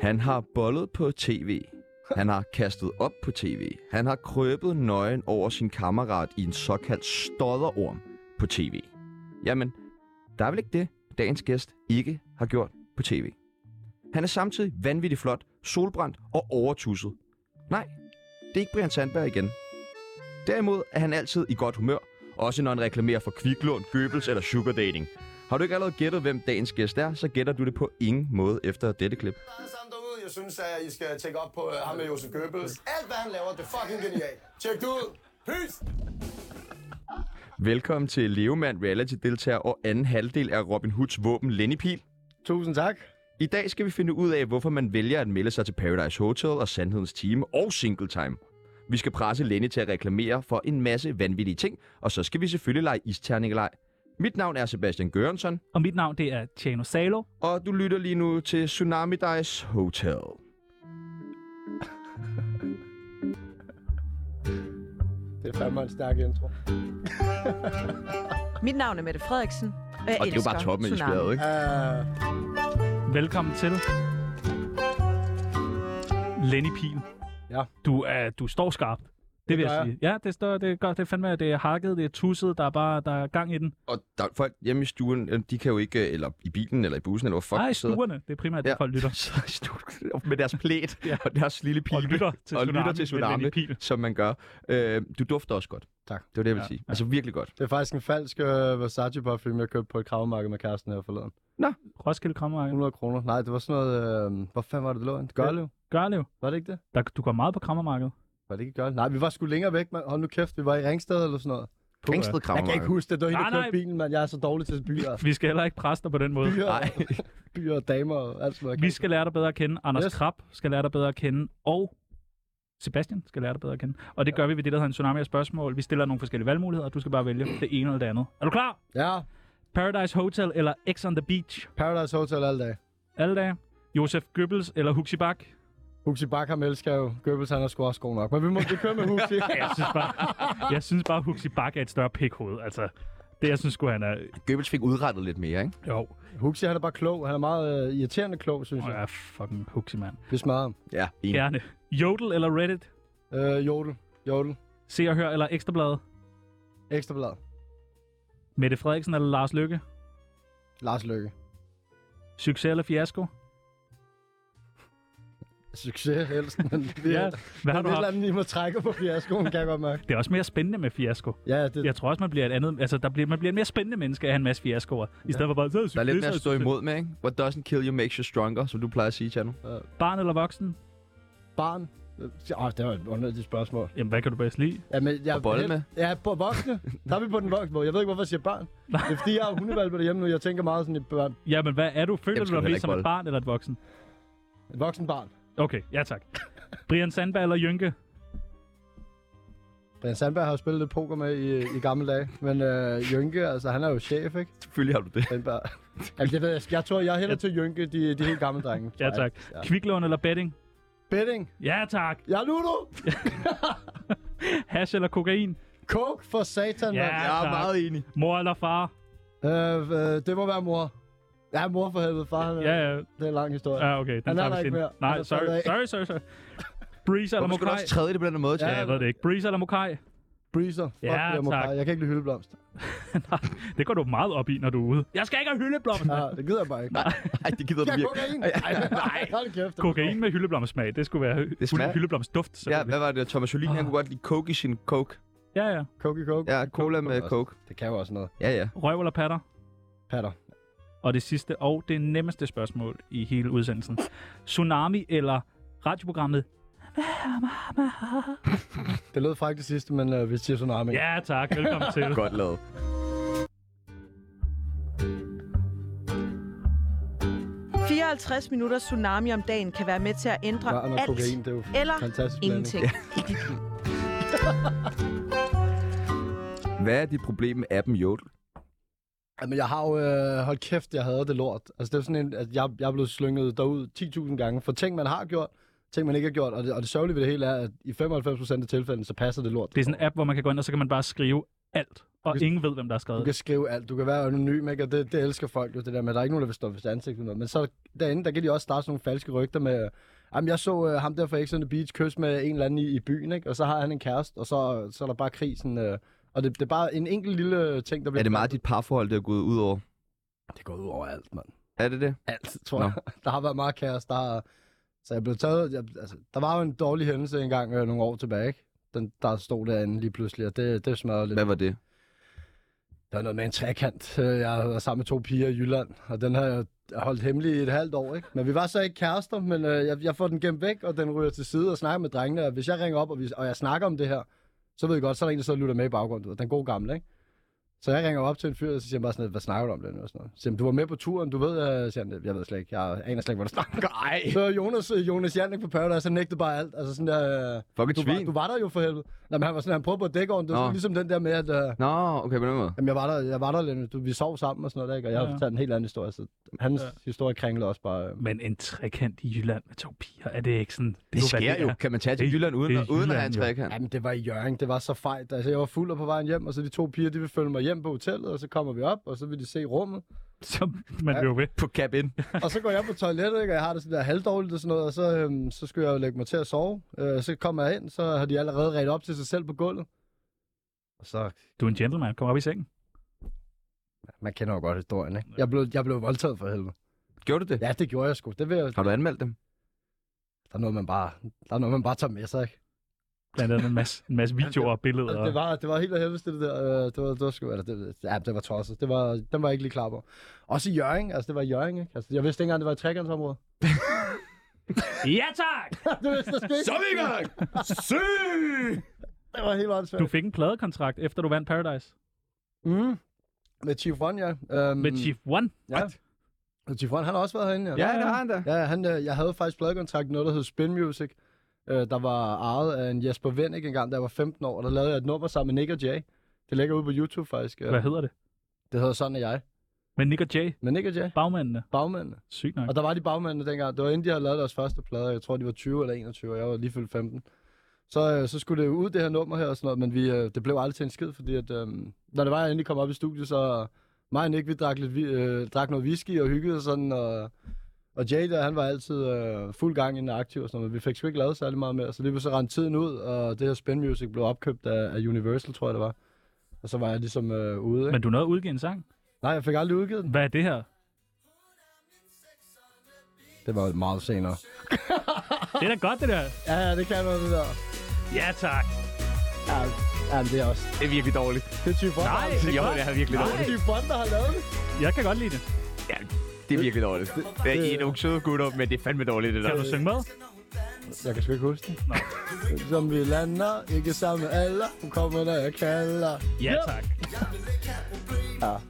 Han har bollet på tv. Han har kastet op på tv. Han har krøbet nøgen over sin kammerat i en såkaldt stodderorm på tv. Jamen, der er vel ikke det, dagens gæst ikke har gjort på tv. Han er samtidig vanvittigt flot, solbrændt og overtusset. Nej, det er ikke Brian Sandberg igen. Derimod er han altid i godt humør, også når han reklamerer for kviklån, Goebbels eller sugar dating. Har du ikke allerede gættet, hvem dagens gæst er, så gætter du det på ingen måde efter dette klip. alle sammen derude. Jeg synes, at I skal tjekke op på uh, ham med Josef Goebbels. Alt, hvad han laver, det er fucking genialt. Tjek det ud. Peace! Velkommen til Levemand Reality-deltager og anden halvdel af Robin Hoods våben Lenny Pil. Tusind tak. I dag skal vi finde ud af, hvorfor man vælger at melde sig til Paradise Hotel og Sandhedens Time og Single Time. Vi skal presse Lenny til at reklamere for en masse vanvittige ting, og så skal vi selvfølgelig lege isterningeleg. Mit navn er Sebastian Gørensson, Og mit navn, det er Tjano Salo. og du lytter lige nu til Tsunami Dice Hotel. Det er fandme en stærk intro. Mit navn er Mette Frederiksen, og jeg Og det er jo elsker bare toppen af tsunami. isbjerget, ikke? Uh, Velkommen til. Lenny Pil. Ja. Du, er, du står skarpt. Det, det vil gør jeg sige. Ja, det, står, det, gør, det er fandme, det er hakket, det er tusset, der er bare der er gang i den. Og der, er folk hjemme i stuen, øh, de kan jo ikke, øh, eller i bilen, eller i bussen, eller hvor fuck Nej, de sidder. stuerne. Det er primært, ja. folk lytter. Så i stuen, med deres plæt ja. og deres lille pibe. Og lytter til og tsunami. lytter til med tsunami, Lenny Pihl. som man gør. Øh, du dufter også godt. Tak. Det var det, jeg ville Ja, sige. ja. Altså virkelig godt. det er faktisk en falsk uh, Versace parfume, jeg købte på et kravmarked med kæresten her forleden. Roskilde Krammermarked. 100 kroner. Nej, det var sådan noget... Uh, hvor fanden var det, det lå? henne? Gørlev? Gørlev. Var det ikke det? Der, du går meget på Krammermarked. Var det ikke Gørlev? Nej, vi var sgu længere væk, mand. Hold nu kæft, vi var i Ringsted eller sådan noget. Puh, ja. Ringsted Jeg kan ikke Krammermarked. huske det. Det var hende, Nej, der kørte nej. bilen, mand. Jeg er så dårlig til byer. Vi skal heller ikke presse dig på den måde. Byer, Nej, byer og damer og alt sådan noget. Vi skal lære dig bedre at kende. Anders yes. Yes. Krab skal lære dig bedre at kende. Og Sebastian skal lære dig bedre at kende. Og det gør vi ved det, der hedder en tsunami af spørgsmål. Vi stiller nogle forskellige valgmuligheder, og du skal bare vælge det ene eller det andet. Er du klar? Ja, Paradise Hotel eller X on the Beach? Paradise Hotel alle dag. Alle dage. Josef Goebbels eller Huxi Bak? Huxi Bakham elsker jo. Goebbels, han er sgu også god nok. Men vi må vi kører med Huxi. Jeg synes bare, jeg synes bare Huxi Bak er et større pikhoved. Altså, det jeg synes sgu, han er... Goebbels fik udrettet lidt mere, ikke? Jo, Huxi, han er bare klog. Han er meget uh, irriterende klog, synes jeg jeg. er fucking Huxi, mand. Vi smadrer ham. Ja, en. Ja. Gerne. Jodel eller Reddit? Uh, Jodel. Jodel. Se og hør eller Ekstrabladet? Ekstrablad. Mette Frederiksen eller Lars Lykke? Lars Løkke. Succes eller fiasko? Succes helst, men det Ja, er, men Hvad har et du eller haft? andet, I må trække på fiaskoen, kan jeg godt mærke. Det er også mere spændende med fiasko. Ja, det, Jeg tror også, man bliver et andet... Altså, der bliver, man bliver et mere spændende menneske af en masse fiaskoer. I stedet for bare... Så er Der er lidt mere succes, så at stå succes." imod med, ikke? What doesn't kill you makes you stronger, som du plejer at sige, Tjerno. Barn eller voksen? barn. Åh, oh, det var et underligt spørgsmål. Jamen, hvad kan du bedst lide? Ja, men jeg, Og bolle med. Ja, på voksne. Der er vi på den voksne. Jeg ved ikke, hvorfor jeg siger barn. Det er, fordi jeg har hundevalpe derhjemme nu. Jeg tænker meget sådan et, børn, Jamen, hvad er du? Føler Jamen, du skal du dig heller mest ikke som bolle. et barn eller et voksen? et voksen barn. Okay, ja tak. Brian Sandberg eller Jynke? Brian Sandberg har jo spillet lidt poker med i, i gamle dage. Men øh, Jynke, altså han er jo chef, ikke? Selvfølgelig har du det. Sandberg. Jamen, jeg, ved, jeg, jeg tror, jeg er hellere til Jynke, de, de helt gamle drenge. Ja tak. Ja. Kviklån eller betting? Betting. Ja tak. Jeg er Ludo. Hash eller kokain? Coke for satan, Ja, mand. Jeg er tak. meget enig. Mor eller far? Øh, øh, det må være mor. Ja, mor for helvede. Far, Øh, han, Ja, ja. det er en lang historie. ja okay, den Han er tager der vi ikke senere. mere. Han Nej, er sorry, faldet af. sorry, sorry, sorry. Breeze eller Hvorfor skal du Mokai? også træde det på den måde, Ja, Tjerno? jeg ved det ikke. Breeze eller Mokai? Breezer. Fuck, Ja, jeg, må tak. bare- jeg kan ikke lide hyldeblomster. Nej, det går du meget op i, når du er ude. Jeg skal ikke have hyldeblomster. Ja, det gider jeg bare ikke. Nej, nej, det gider du Jeg er virkelig. kokain. Nej. Hold kæft. Kokain med hyldeblomsmag, det skulle være hy- smager- hyldeblomstduft. Ja, selvfølgelig. hvad var det? Thomas Jolin, han kunne godt lide coke i sin coke. ja, ja. Coke, coke. Ja, cola med også. coke. Det kan jo også noget. Ja, ja. Røv eller patter? Patter. Og det sidste og det nemmeste spørgsmål i hele udsendelsen. Tsunami eller radioprogrammet? Det lød faktisk det sidste, men øh, vi siger tsunami. Ja tak, velkommen til. Godt lavet. Tsunami. 54 minutter tsunami om dagen kan være med til at ændre Børn og alt kokain, det er jo eller fantastisk blanding. ingenting. i dit liv. Hvad er dit problem med appen Jodel? Jamen, jeg har jo... Øh, hold kæft, jeg havde det lort. Altså, det er sådan en... At jeg, jeg er blevet slynget derud 10.000 gange for ting, man har gjort, ting, man ikke har gjort. Og det, og det sørgelige ved det hele er, at i 95% af tilfældene, så passer det lort. Det er sådan en app, hvor man kan gå ind, og så kan man bare skrive alt, og Hvis- ingen ved, hvem der har Du skrevet kan det. skrive alt, du kan være anonym, ikke? og det, det elsker folk jo, det der med, at der er ikke nogen, der vil stå ved ansigt eller noget. Men så derinde, der kan de også starte sådan nogle falske rygter med, øh, jamen jeg så øh, ham der fra X on the Beach kysse med en eller anden i, i byen, ikke? og så har han en kæreste, og så, så er der bare krisen. Øh, og det, det er bare en enkelt lille ting, der bliver... Er det meget dit parforhold, der er gået ud over? Det går ud over alt, mand. Er det det? Alt, tror Nå. jeg. Der har været meget kaos. Der har, så jeg blev taget... Jeg, altså, der var jo en dårlig hændelse engang øh, nogle år tilbage, ikke? Den, der stod derinde lige pludselig, og det, det smadrede lidt. Hvad var det? Der var noget med en trekant. Øh, Jeg var sammen med to piger i Jylland, og den har jeg holdt hemmelig i et halvt år. Ikke? Men vi var så ikke kærester, men øh, jeg, jeg får den gemt væk, og den ryger til side og snakker med drengene. Og hvis jeg ringer op, og, vi, og jeg snakker om det her, så ved jeg godt, så er der en, der sidder og lytter med i baggrunden. du ved. Den gode gamle, ikke? Så jeg ringer op til en fyr, og så siger han bare sådan, lidt, hvad snakker du om det nu? Og sådan noget. Så siger han, du var med på turen, du ved, øh, siger han, jeg ved slet ikke, jeg aner slet ikke, hvad du snakker om. Nej. Så Jonas, øh, Jonas Jannik på Paradise, han nægtede bare alt. Altså sådan der, øh, Fuck et du, var, svin. du var der jo for helvede. Nej, men han var sådan, han prøvede på at dække over, det var Nå. sådan ligesom den der med, at... Øh, Nå, okay, på den måde. Jamen, jeg var der, jeg var der lidt. Du, vi sov sammen og sådan noget, ikke? og jeg har Ja, ja. fortalt en helt anden historie, så hans Ja. ja. historie kringler også bare... øh. Men en trekant i Jylland med to piger, er det ikke sådan... Det er hvad sker jo. er. Kan man tage til Det- Jylland uden, det er at- uden at have en Jylland, trekant? Jamen, det var i Jørgen, det var så fejt. Altså, jeg var fuld og på vejen hjem, og så de to piger, de ville følge mig hjem på hotellet, og så kommer vi op, og så vil de se rummet. Så man Ja. bliver ved. På cap in. og så går jeg på toilettet, ikke? og jeg har det sådan der halvdårligt og sådan noget, og så, øhm, så skal jeg jo lægge mig til at sove. Øh, så kommer jeg ind, så har de allerede ret op til sig selv på gulvet. Og så... Du er en gentleman. Kom op i sengen. Man kender jo godt historien, ikke? Jeg blev, jeg blev voldtaget for helvede. Gjorde du det? Ja, det gjorde jeg sgu. Det vil jeg... Har du anmeldt dem? Der er noget, man bare, der er noget, man bare tager med sig, ikke? Blandt andet en masse, en masse videoer og billeder. Altså, og- det, var, det var helt af helvede det der. Øh, Det var, det var sgu, eller det, ja, det var tosset. Det var, den var jeg ikke lige klar på. Også i Jørgen, altså det var i Jørgen, ikke? Altså, jeg vidste ikke engang, det var i trekantsområdet. Ja tak! det vidste jeg sgu ikke. vi i gang! Syg! Det var helt Du åndssvagt. fik en pladekontrakt, efter du vandt Paradise. Mm. Med Chief One, ja. Um, Med Chief One. Ja. Og Chief One, han har også været herinde, Ja, det har han da. Ja, han, øh, jeg havde faktisk pladekontrakt med noget, der hed Spin Music, øh, der var ejet af en Jesper Vennik engang, da jeg var 15 år, og der lavede jeg et nummer sammen med Nick og Jay. Det ligger ude på YouTube faktisk. øh. Hvad hedder det? Det hedder Sådan er jeg. Med Nick og Jay. Med Nick og Jay, Bagmændene. bagmændene. Sygt nok. Og der var de bagmændene dengang. Det var inden de havde lavet deres første plade. Jeg tror, de var 20 eller 21, og jeg var lige fyldt 15. Så, øh, så skulle det jo ud, det her nummer her og sådan noget, men vi, øh, det blev aldrig til en skid, fordi at, øh, når det var, jeg endelig kom op i studiet, så mig og Nick, vi drak, lidt, vi, øh, drak noget whisky og hyggede og sådan, og, og Jay der, han var altid øh, fuld gang inden aktiv og sådan noget, men vi fik sgu ikke lavet særlig meget mere, så lige så rendte tiden ud, og det her Spin Music blev opkøbt af, af Universal, tror jeg det var. Og så var jeg ligesom øh, ude, ikke? Men Men... du nåede at udgive en sang. Nej, jeg fik aldrig udgivet den. Hvad er det her? Det var meget senere. Det er da godt, det der. Ja, ja, det kan noget, det der. Ja tak. Ja, ja men det er også... Det er virkelig dårligt. Det er Typ Bond, Nej, det er godt. er virkelig Nej. Det er Typ Bond, der har lavet det. Jeg kan godt lide det. Ja, det er virkelig dårligt. Det, I er nogle søde gutter, men det er fandme dårligt, det Kan du synge med? Jeg kan sgu ikke huske det. Som vi lander, ikke sammen med alle. Hun kommer, når jeg kalder. Ja tak.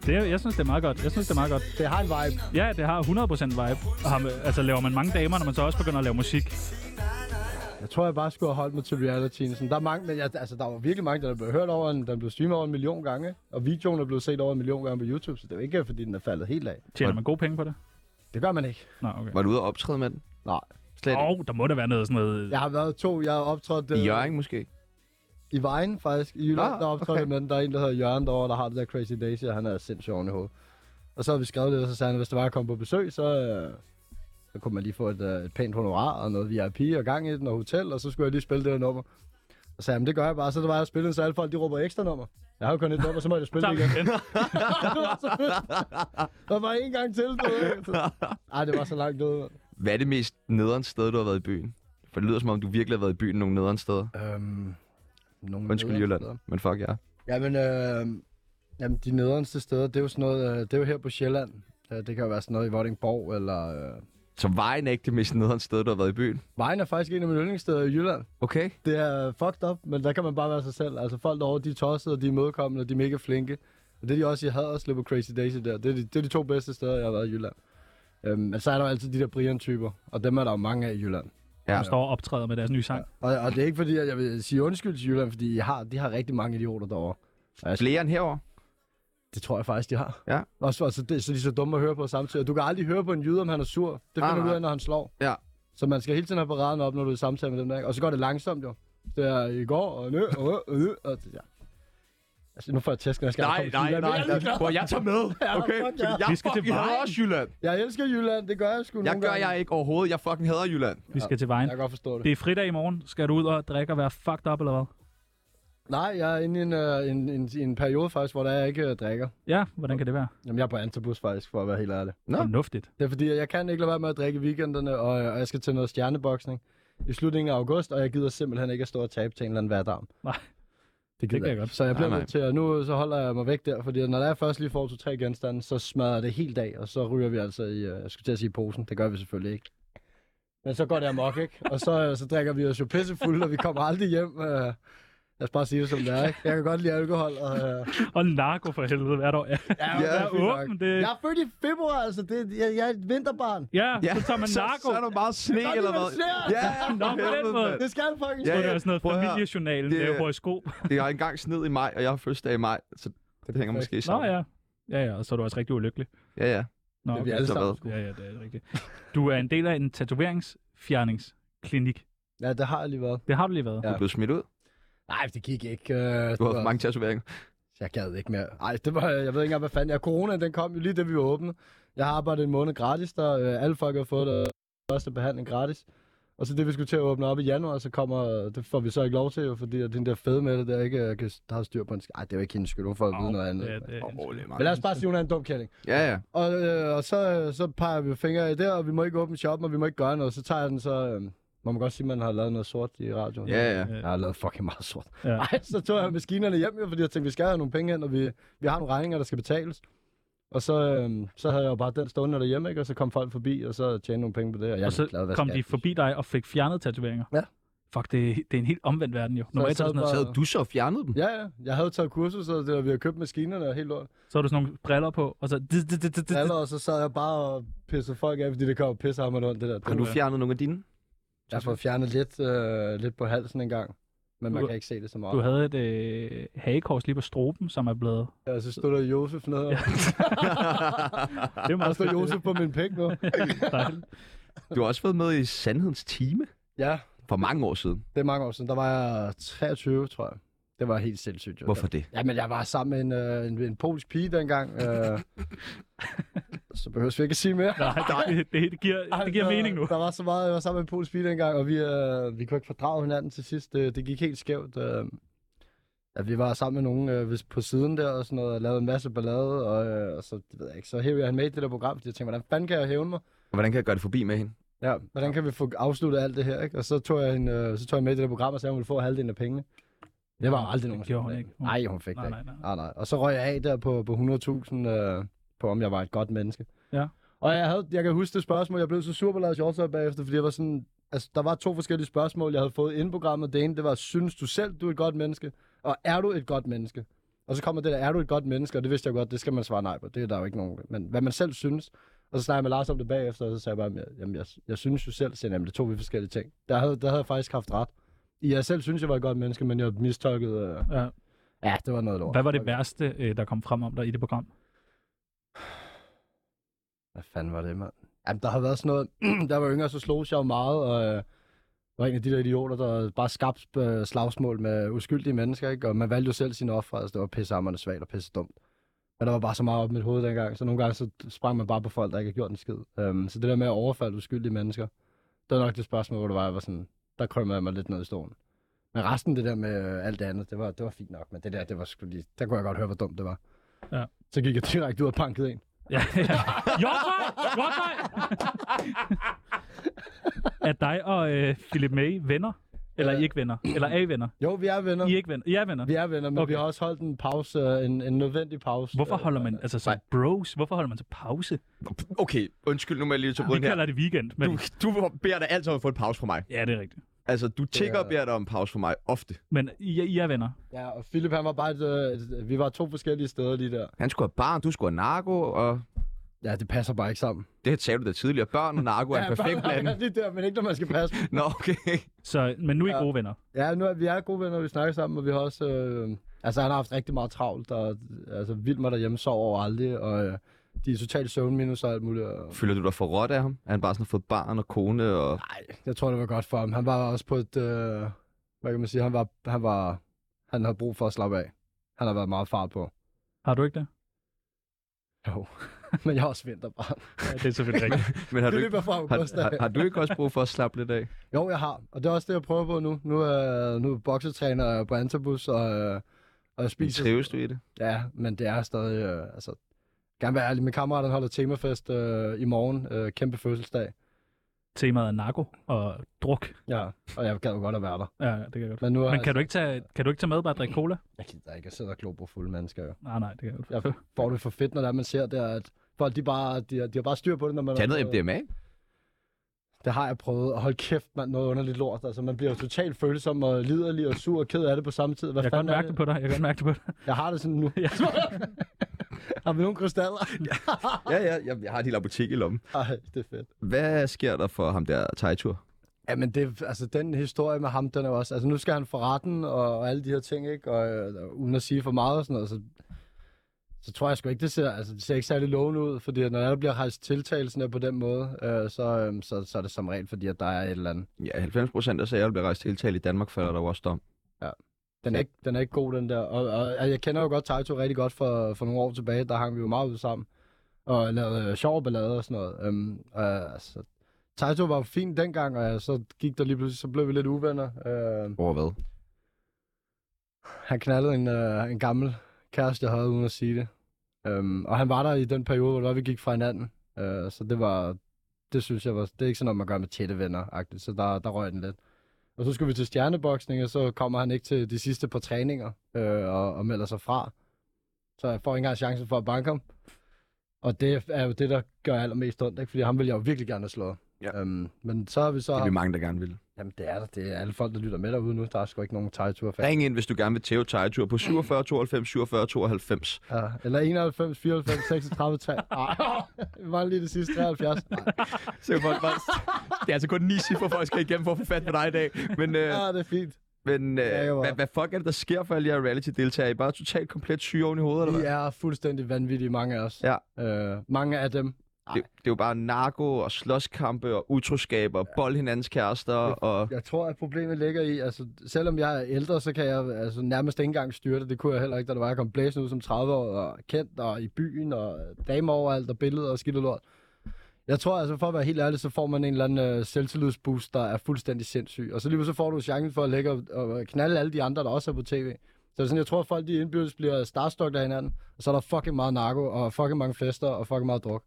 Det, er- jeg synes, det er meget godt. Jeg synes, det er meget godt. Det har en vibe. Ja, det har 100% vibe. Og har, med- altså, laver man mange damer, når man så også begynder at lave musik. Jeg tror, jeg bare skulle have holdt mig til realityen. Sådan, der er mange, men jeg, altså, der var virkelig mange, der blev hørt over en, den blev streamet over en million gange. Og videoen er blevet set over en million gange på YouTube, så det er jo ikke, fordi den er faldet helt af. Tjener man gode penge på det? Det gør man ikke. Nå, okay. Var du ude og optræde med den? Nej. Slet Åh, oh, der må da være noget sådan noget. Jeg har været to, jeg har optrådt øh, ikke. I Jørgen måske? i Vejen faktisk, i Jylland, Ah, der optrådte okay. okay. med den. Der er en, der hedder Jørgen derovre, der har det der Crazy Daisy, og han er sindssygt oven i hovedet. Og så har vi skrevet det, og så sagde han, at hvis det var at komme på besøg, så, øh, så kunne man lige få et, øh, et pænt honorar og noget VIP og gang i den og hotel, og så skulle jeg lige spille det her nummer. Og så sagde jeg, "Men det gør jeg bare, så det var jeg spillede, så alle folk de råber ekstra nummer. Jeg har jo kun et nummer, så må jeg jo spille Tak det igen. igen. det var så fedt. Der var en gang til. Du ved. Så- Ej, det var så langt nede. mand. Hvad er det mest nederen sted, du har været i byen? For det lyder som om, du virkelig har været i byen nogle nederen steder. Øhm, nogen Undskyld nederen Jylland, steder. men fuck ja. Jamen, øh, jamen, de nederste steder, det er jo sådan noget, øh, det er jo her på Sjælland. Øh, det kan jo være sådan noget i Vordingborg, eller... Øh, Så vejen er ikke det mest nederen sted, du har været i byen? Vejen er faktisk en af mine yndlingssteder i Jylland. Okay. Det er fucked up, men der kan man bare være sig selv. Altså, folk derovre, de er tossede, og de er imødekommende, og de er mega flinke. Og det er de også i Haderslev på Crazy Daisy der. Det er, de, det er de to bedste steder, jeg har været i Jylland. Øhm, men så er der jo altid de der Brian-typer, og dem er der jo mange af i Jylland. Ja. De står og optræder med deres nye sang. Og, og det er ikke fordi, at jeg vil sige undskyld til Jylland, fordi I har, de har rigtig mange idioter derovre. Flere end herovre? Det tror jeg faktisk, de har. Ja. Også, altså, det, så de er så dumme at høre på samtidig. Og du kan aldrig høre på en jyde, om han er sur. Det finder Nej, du ud nej. af, når han slår. Ja. Så man skal hele tiden have paraden op, når du er i samtale med dem der. ikke? Og så går det langsomt jo. Det er i går, og nu, og nu, og nu, og det, ja. Altså, nu får jeg tæsk, når jeg skal Nej, komme til nej, Jylland. nej. Jeg elsker- Hvor jeg tager med, okay? fuck ja. Fordi jeg Vi skal til fucking hader Vejen. også Jylland. Jeg elsker Jylland, det gør jeg sgu Jeg nogle gør gange. jeg ikke overhovedet. Jeg fucking hader Jylland. Vi skal til vejen. Jeg kan godt forstå det. Det er fredag i morgen. Skal du ud og drikke og være fucked up, eller hvad? Nej, jeg er inde i en, øh, en, en, en periode faktisk, hvor der jeg ikke øh, drikker. Ja, hvordan kan det være? Jamen, jeg er på antabus faktisk, for at være helt ærlig. Nå. Fornuftigt. Det er fordi, at jeg kan ikke lade være med at drikke i weekenderne, og, øh, og jeg skal til noget stjerneboksning i slutningen af august, og jeg gider simpelthen ikke at stå og tabe til en eller anden hverdarm. Nej. Det kan gider jeg jeg godt. godt. Så jeg bliver Nej, nej. nødt til, at nu øh, så holder jeg mig væk der, fordi når jeg først lige får to-tre genstande, så smadrer jeg det helt af, og så ryger vi altså i, øh, jeg skulle til at sige posen, det gør vi selvfølgelig ikke. Men så går det amok, ikke? Og så, øh, så drikker vi os jo pissefulde, og vi kommer aldrig hjem. Øh, lad os bare sige det, som det er, ikke? Jeg kan godt lide alkohol, og... Øh, Og narko for helvede hvert år. Ja, ja, ja åben. Det... Jeg er født i februar, altså. Det, jeg, jeg er et vinterbarn. Ja, ja, så tager man så, narko. så er du meget sne, Nå, det eller er hvad? svært. Ja, ja, Nå, for på den helvede, måde. mand. Det skal jeg fucking Ja, Ja, ja. ja. Det er sådan noget Prøv at høre. familiejournalen, Det- det er horoskop. Det er engang sned i maj, og jeg har fødselsdag i maj, så det hænger perfekt. måske Nå sammen. ja. Ja, ja, og så er du også rigtig ulykkelig. Ja, ja. Nå, Det er vi okay. alle Så sammen. hvad? Ja, ja, det er rigtigt. Du er en del af en tatoveringsfjerningsklinik. Ja, det har jeg lige været. Det har du lige været. Du Ja. er blevet smidt ud. Nej, det gik ikke. Øh, Du har haft mange tatoveringer. Jeg gad ikke mere. Nej, det var, jeg ved ikke engang, hvad fanden. Ja, corona, den kom jo lige da vi var åbne. Jeg har arbejdet en måned gratis, der øh, alle folk har fået øh, første behandling gratis. Og så det, vi skulle til at åbne op i januar, så kommer, øh, det får vi så ikke lov til, jo, fordi at den der fede med det, der ikke øh, kan, der har styr på en sk- Ej, det er jo ikke hendes skyld, hun får at vide noget andet. Ja, det, Åh, oh, rolig, mand. Men lad os bare sige, hun er en dum kælling. Ja, ja. Og, øh, og så, øh, så peger vi fingre i der, og vi må ikke åbne shoppen, og vi må ikke gøre noget. Så tager jeg den så... Øh, man må godt sige, at man har lavet noget sort i radioen. Ja, ja. Jeg har lavet fucking meget sort. Ja. Ja. Ej, så tog jeg maskinerne hjem, jo, fordi jeg tænkte, vi skal have nogle penge ind, og vi, vi har nogle regninger, der skal betales. Og så, øhm, så havde jeg jo bare den stående derhjemme, ikke? og så kom folk forbi, og så tjente nogle penge på det. Og, jeg Og så ligeglad, hvad kom skat de er. forbi dig og fik fjernet tatoveringer. Ja. Fuck, det, det er en helt omvendt verden jo. Normalt så, sad er du sådan noget, Så havde du så fjernet dem? Ja, ja. Jeg havde taget kursus, og det, og vi havde købt maskinerne og helt lort. så har du sådan nogle briller på, og så... Det, det, det, det, det. Allerede så sad jeg bare og pissede folk af, fordi det kom pisse ham rundt, det der. Har du fjernet nogle af dine? Jeg har fået fjernet lidt, øh, lidt på halsen engang, men man Du- kan ikke se det så meget. Du havde et øh, hagekors lige på stroben, som er blevet... Ja, så stod der Josef ned. Ja. Det er Der meget står Josef på min pæk nu. dejligt. Du har også været med i Sandhedens Time Ja, for mange år siden. det er mange år siden. Der var jeg 23, tror jeg. Det var helt sindssygt. Jo. Hvorfor det? Ja, men jeg var sammen med en, øh, en, en polsk pige dengang. Øh, så behøver vi ikke at sige mere. Nej, det, det, det, giver, det giver Altså, mening nu. Der var så meget, jeg var sammen med en polsk pige dengang, og vi, øh, vi kunne ikke fordrage hinanden til sidst. Det, det gik helt skævt. Øh, at vi var sammen med nogen øh, hvis- på siden der og sådan noget, og lavede en masse ballade, og, øh, og så, det ved jeg ikke, så hævde jeg han med i det der program, fordi jeg tænkte, hvordan fanden kan jeg hævne mig? Og hvordan kan jeg gøre det forbi med hende? Ja, hvordan kan vi få afsluttet alt det her, ikke? Og så tog jeg, hende, øh, så tog jeg med i det der program, og sagde, hun ville få halvdelen af pengene. Det var aldrig nogen. gjorde hun ikke. Hun- Nej, hun fik Nej, det nej, ikke. nej. Nej, nej. Og så røg jeg af der på, på 100.000, øh, på om jeg var et godt menneske. Ja. Og jeg, havde, jeg kan huske det spørgsmål, jeg blev så sur på Lars Hjortøj bagefter, fordi jeg var sådan, altså, der var to forskellige spørgsmål, jeg havde fået inden programmet. Det ene, det var, synes du selv, du er et godt menneske? Og er du et godt menneske? Og så kommer det der, er du et godt menneske? Og det vidste jeg godt, det skal man svare nej på. Det er der jo ikke nogen. Men hvad man selv synes. Og så snakkede jeg med Lars om det bagefter, og så sagde jeg bare, jamen jeg, jeg synes jo selv, siger, jamen det er to vidt forskellige ting. Der havde, der havde jeg faktisk haft ret. Jeg selv synes, jeg var et godt menneske, men jeg mistolkede... Øh, Ja. ja, det var noget lort. Hvad var det værste, øh, der kom frem om dig i det program? Hvad fanden var det, mand? Jamen, der har været sådan noget... der var yngre, så slog jeg jo meget, og øh, var en af de der idioter, der bare skabte øh, slagsmål med uskyldige mennesker, ikke? Og man valgte jo selv sine ofre, altså det var pissehammerende svagt og pisse dumt. Men der var bare så meget op i mit hoved dengang, så nogle gange så sprang man bare på folk, der ikke havde gjort en skid. Um, så det der med at overfalde uskyldige mennesker, det var nok det spørgsmål, hvor det var, jeg var sådan, der krømmede jeg mig lidt ned i stolen. Men resten det der med øh, alt det andet, det var, det var fint nok, men det der, det var sgu lige, der kunne jeg godt høre, hvor dumt det var. Ja. Så gik jeg direkte ud og bankede en. Ja, ja. Hjortøj! Hjortøj! er dig og øh, Philip May venner? Eller I ikke venner? Eller er I venner? Jo, vi er venner. I er ikke venner? I er venner? Vi er venner, men Okay. okay. vi har også holdt en pause, en, en nødvendig pause. Hvorfor holder man, altså som Nej. bros, hvorfor holder man så pause? Okay, undskyld, nu må jeg lige tage Vi bruden her. kalder det weekend, men... Du, du beder dig altid om at få en pause fra mig. Ja, det er rigtigt. Altså, du tigger og er- beder dig om en pause fra mig ofte. Men I, er- I er venner. Ja, og Philip han var bare, et, øh, et, vi var to forskellige steder lige der. Han skulle have barn, du skulle have narko, og Ja, det passer bare ikke sammen. det sagde du da tidligere. Børn og narko er en perfekt bare, blanding. lige der, men ikke når man skal passe. Nå, okay. Så, men nu er I Ja. gode venner. Ja, nu er vi er gode venner, vi snakker sammen, og vi har også... Øh, altså, han har haft rigtig meget travlt, og altså, Vilma derhjemme sover over aldrig, og øh, de er totalt søvnminus og alt muligt. Og... Føler du dig for råt af ham? Er han bare sådan har fået barn og kone og... Nej, jeg tror, det var godt for ham. Han var også på et... Øh, hvad kan man sige? Han var... Han, var, han havde brug for at slappe af. Han har været meget fart på. Har du ikke det? Jo. Men jeg har også vinterbarn. Ja, det er selvfølgelig rigtigt. Men har du, Det ikke, løber fra har, august. har, har du ikke også brug for at slappe lidt af? Jo, jeg har. Og det er også det, jeg prøver på nu. Nu er, nu er jeg boksetræner og på Antabus, og, øh, og jeg Men spiser... trives du i det? Ja, men det er stadig... Øh, altså, gerne være ærlig. Min kammerat han holder temafest øh, i morgen. Øh, kæmpe fødselsdag. Temaet er narko og druk. Ja, og jeg gad jo godt at være der. Ja, det kan jeg godt. Men, nu er, Men kan du ikke tage, kan du ikke tage med bare at drikke cola? Jeg gider ikke at sidde og glo på fulde mennesker, jo. Nej, nej, det kan jeg godt. Jeg får det for fedt, når det er, man ser der, at folk de bare, de, har- de har bare styr på det, når man... Tag noget MDMA. Det har jeg prøvet, og hold kæft, man, noget underligt lort. Altså, man bliver jo totalt følsom og liderlig og sur og ked af det på samme tid. Hvad Jeg kan fanden godt er mærke det på dig. Jeg kan godt mærke det på dig. Jeg har det sådan nu. Ja. har vi nogle krystaller? Ja, ja, jeg, jeg har et helt apotek i lommen. Nej, det er fedt. Hvad sker der for ham der Tejtur? Jamen, det, altså, den historie med ham, den er jo også... Altså, nu skal han for retten og, og alle de her ting, ikke? Og, øh, uden at sige for meget og sådan noget, så, så tror jeg sgu ikke, det ser, altså, det ser ikke særlig lovende ud, fordi når der bliver rejst tiltagelsen der på den måde, øh, så, øh, så, så er det som regel, fordi at der er et eller andet. Ja, 90 procent af sager, der bliver rejst tiltale i Danmark, falder der jo også dom. Den er, ikke, den er ikke god, den der. Og, og, og jeg kender jo godt Taito rigtig godt for, for nogle år tilbage. Der hang vi jo meget ud sammen. Og lavede øh, sjov ballade og sådan noget. Øhm, øh, altså, Taito var jo fin dengang, og øh, så gik der lige pludselig, så blev vi lidt uvenner. Øh, Over hvad? han knaldede en, øh, en gammel kæreste, jeg havde, uden at sige det. Øhm, og han var der i den periode, hvor det var, vi gik fra hinanden. Øh, så det var, det synes jeg var, det er ikke sådan noget, man gør med tætte venner -agtigt, så der, der røg den lidt. Og så skulle vi til stjerneboksning, og så kommer han ikke til de sidste par træninger øh, og, og melder sig fra. Så jeg får ikke engang chancen for at banke ham. Og det er jo det, der gør allermest ondt, ikke? fordi ham vil jeg jo virkelig gerne have slået. Ja. Øhm, men så har vi så... Det er vi mange, der gerne vil. Jamen det er der, det er alle folk, der lytter med derude nu. Der er sgu ikke nogen tegtur Ring ind, hvis du gerne vil tæve Tejtur på 47 92 47 92. Ja, eller 91, 94, 36, 3. Ej, var lige det sidste 73. Ej, Så kan folk bare... Det er altså kun ni cifre, folk skal igennem for at få fat på dig i dag. Men, øh, ja, Ah, det er fint. men øh, Ja, jo. hvad, hvad fuck er det, der sker for alle jer reality-deltagere? I er bare totalt komplet syge oven i hovedet, eller Vi hvad? er fuldstændig vanvittige, mange af os. Ja. Øh, mange af dem. Det, det er jo bare narko og slåskampe og utroskaber, og bold hinandens kærester og... Jeg tror, at problemet ligger i, altså selvom jeg er ældre, så kan jeg altså, nærmest ikke engang styre det. Det kunne jeg heller ikke, da det var, jeg kom blæsende ud som 30 år og kendt og i byen og damer overalt og billeder og skidt og lort. Jeg tror altså, for at være helt ærlig, så får man en eller anden øh, selvtillidsboost, der er fuldstændig sindssyg. Og så lige så får du chancen for at lægge og, og knalde alle de andre, der også er på tv. Så det er sådan, jeg tror, at folk de indbyrdes bliver starstokt af hinanden, og så er der fucking meget narko, og fucking mange fester, og fucking meget druk.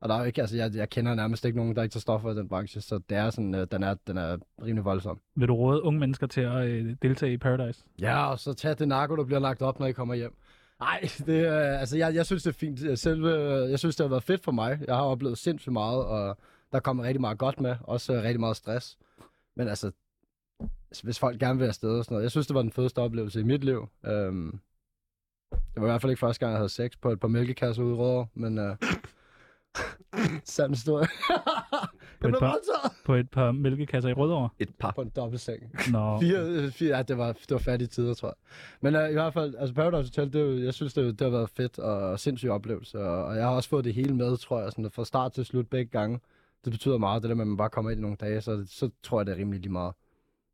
Og der er jo ikke, altså jeg, jeg kender nærmest ikke nogen, der ikke tager stoffer i den branche, så det er sådan, øh, den, er, den er rimelig voldsom. Vil du råde unge mennesker til at øh, deltage i Paradise? Ja, og så tag det narko, der bliver lagt op, når I kommer hjem. Nej, det, øh, altså jeg, jeg synes, det er fint. Selve, øh, jeg synes, det har været fedt for mig. Jeg har oplevet sindssygt meget, og der kommer rigtig meget godt med. Også øh, rigtig meget stress. Men altså, hvis folk gerne vil afsted og sådan noget. Jeg synes, det var den fedeste oplevelse i mit liv. Øhm, det var i hvert fald ikke første gang, jeg havde sex på et par mælkekasser ude i Rødovre, men... Øh, sand historie. jeg blev par- voldtaget På et par mælkekasser i Rødovre? Et par. på en dobbeltseng. Nå, Fire, øh, fire, ja, det var, det var fattige tider, tror jeg. Men uh, i hvert fald, altså Paradise Hotel, det, er jo- jeg synes, det, er jo- det har været fedt og sindssyg oplevelse. Og, og jeg har også fået det hele med, tror jeg, sådan, fra start til slut begge gange. Det betyder meget, det der med, at man bare kommer ind i nogle dage, så, så tror jeg, det er rimelig lige meget.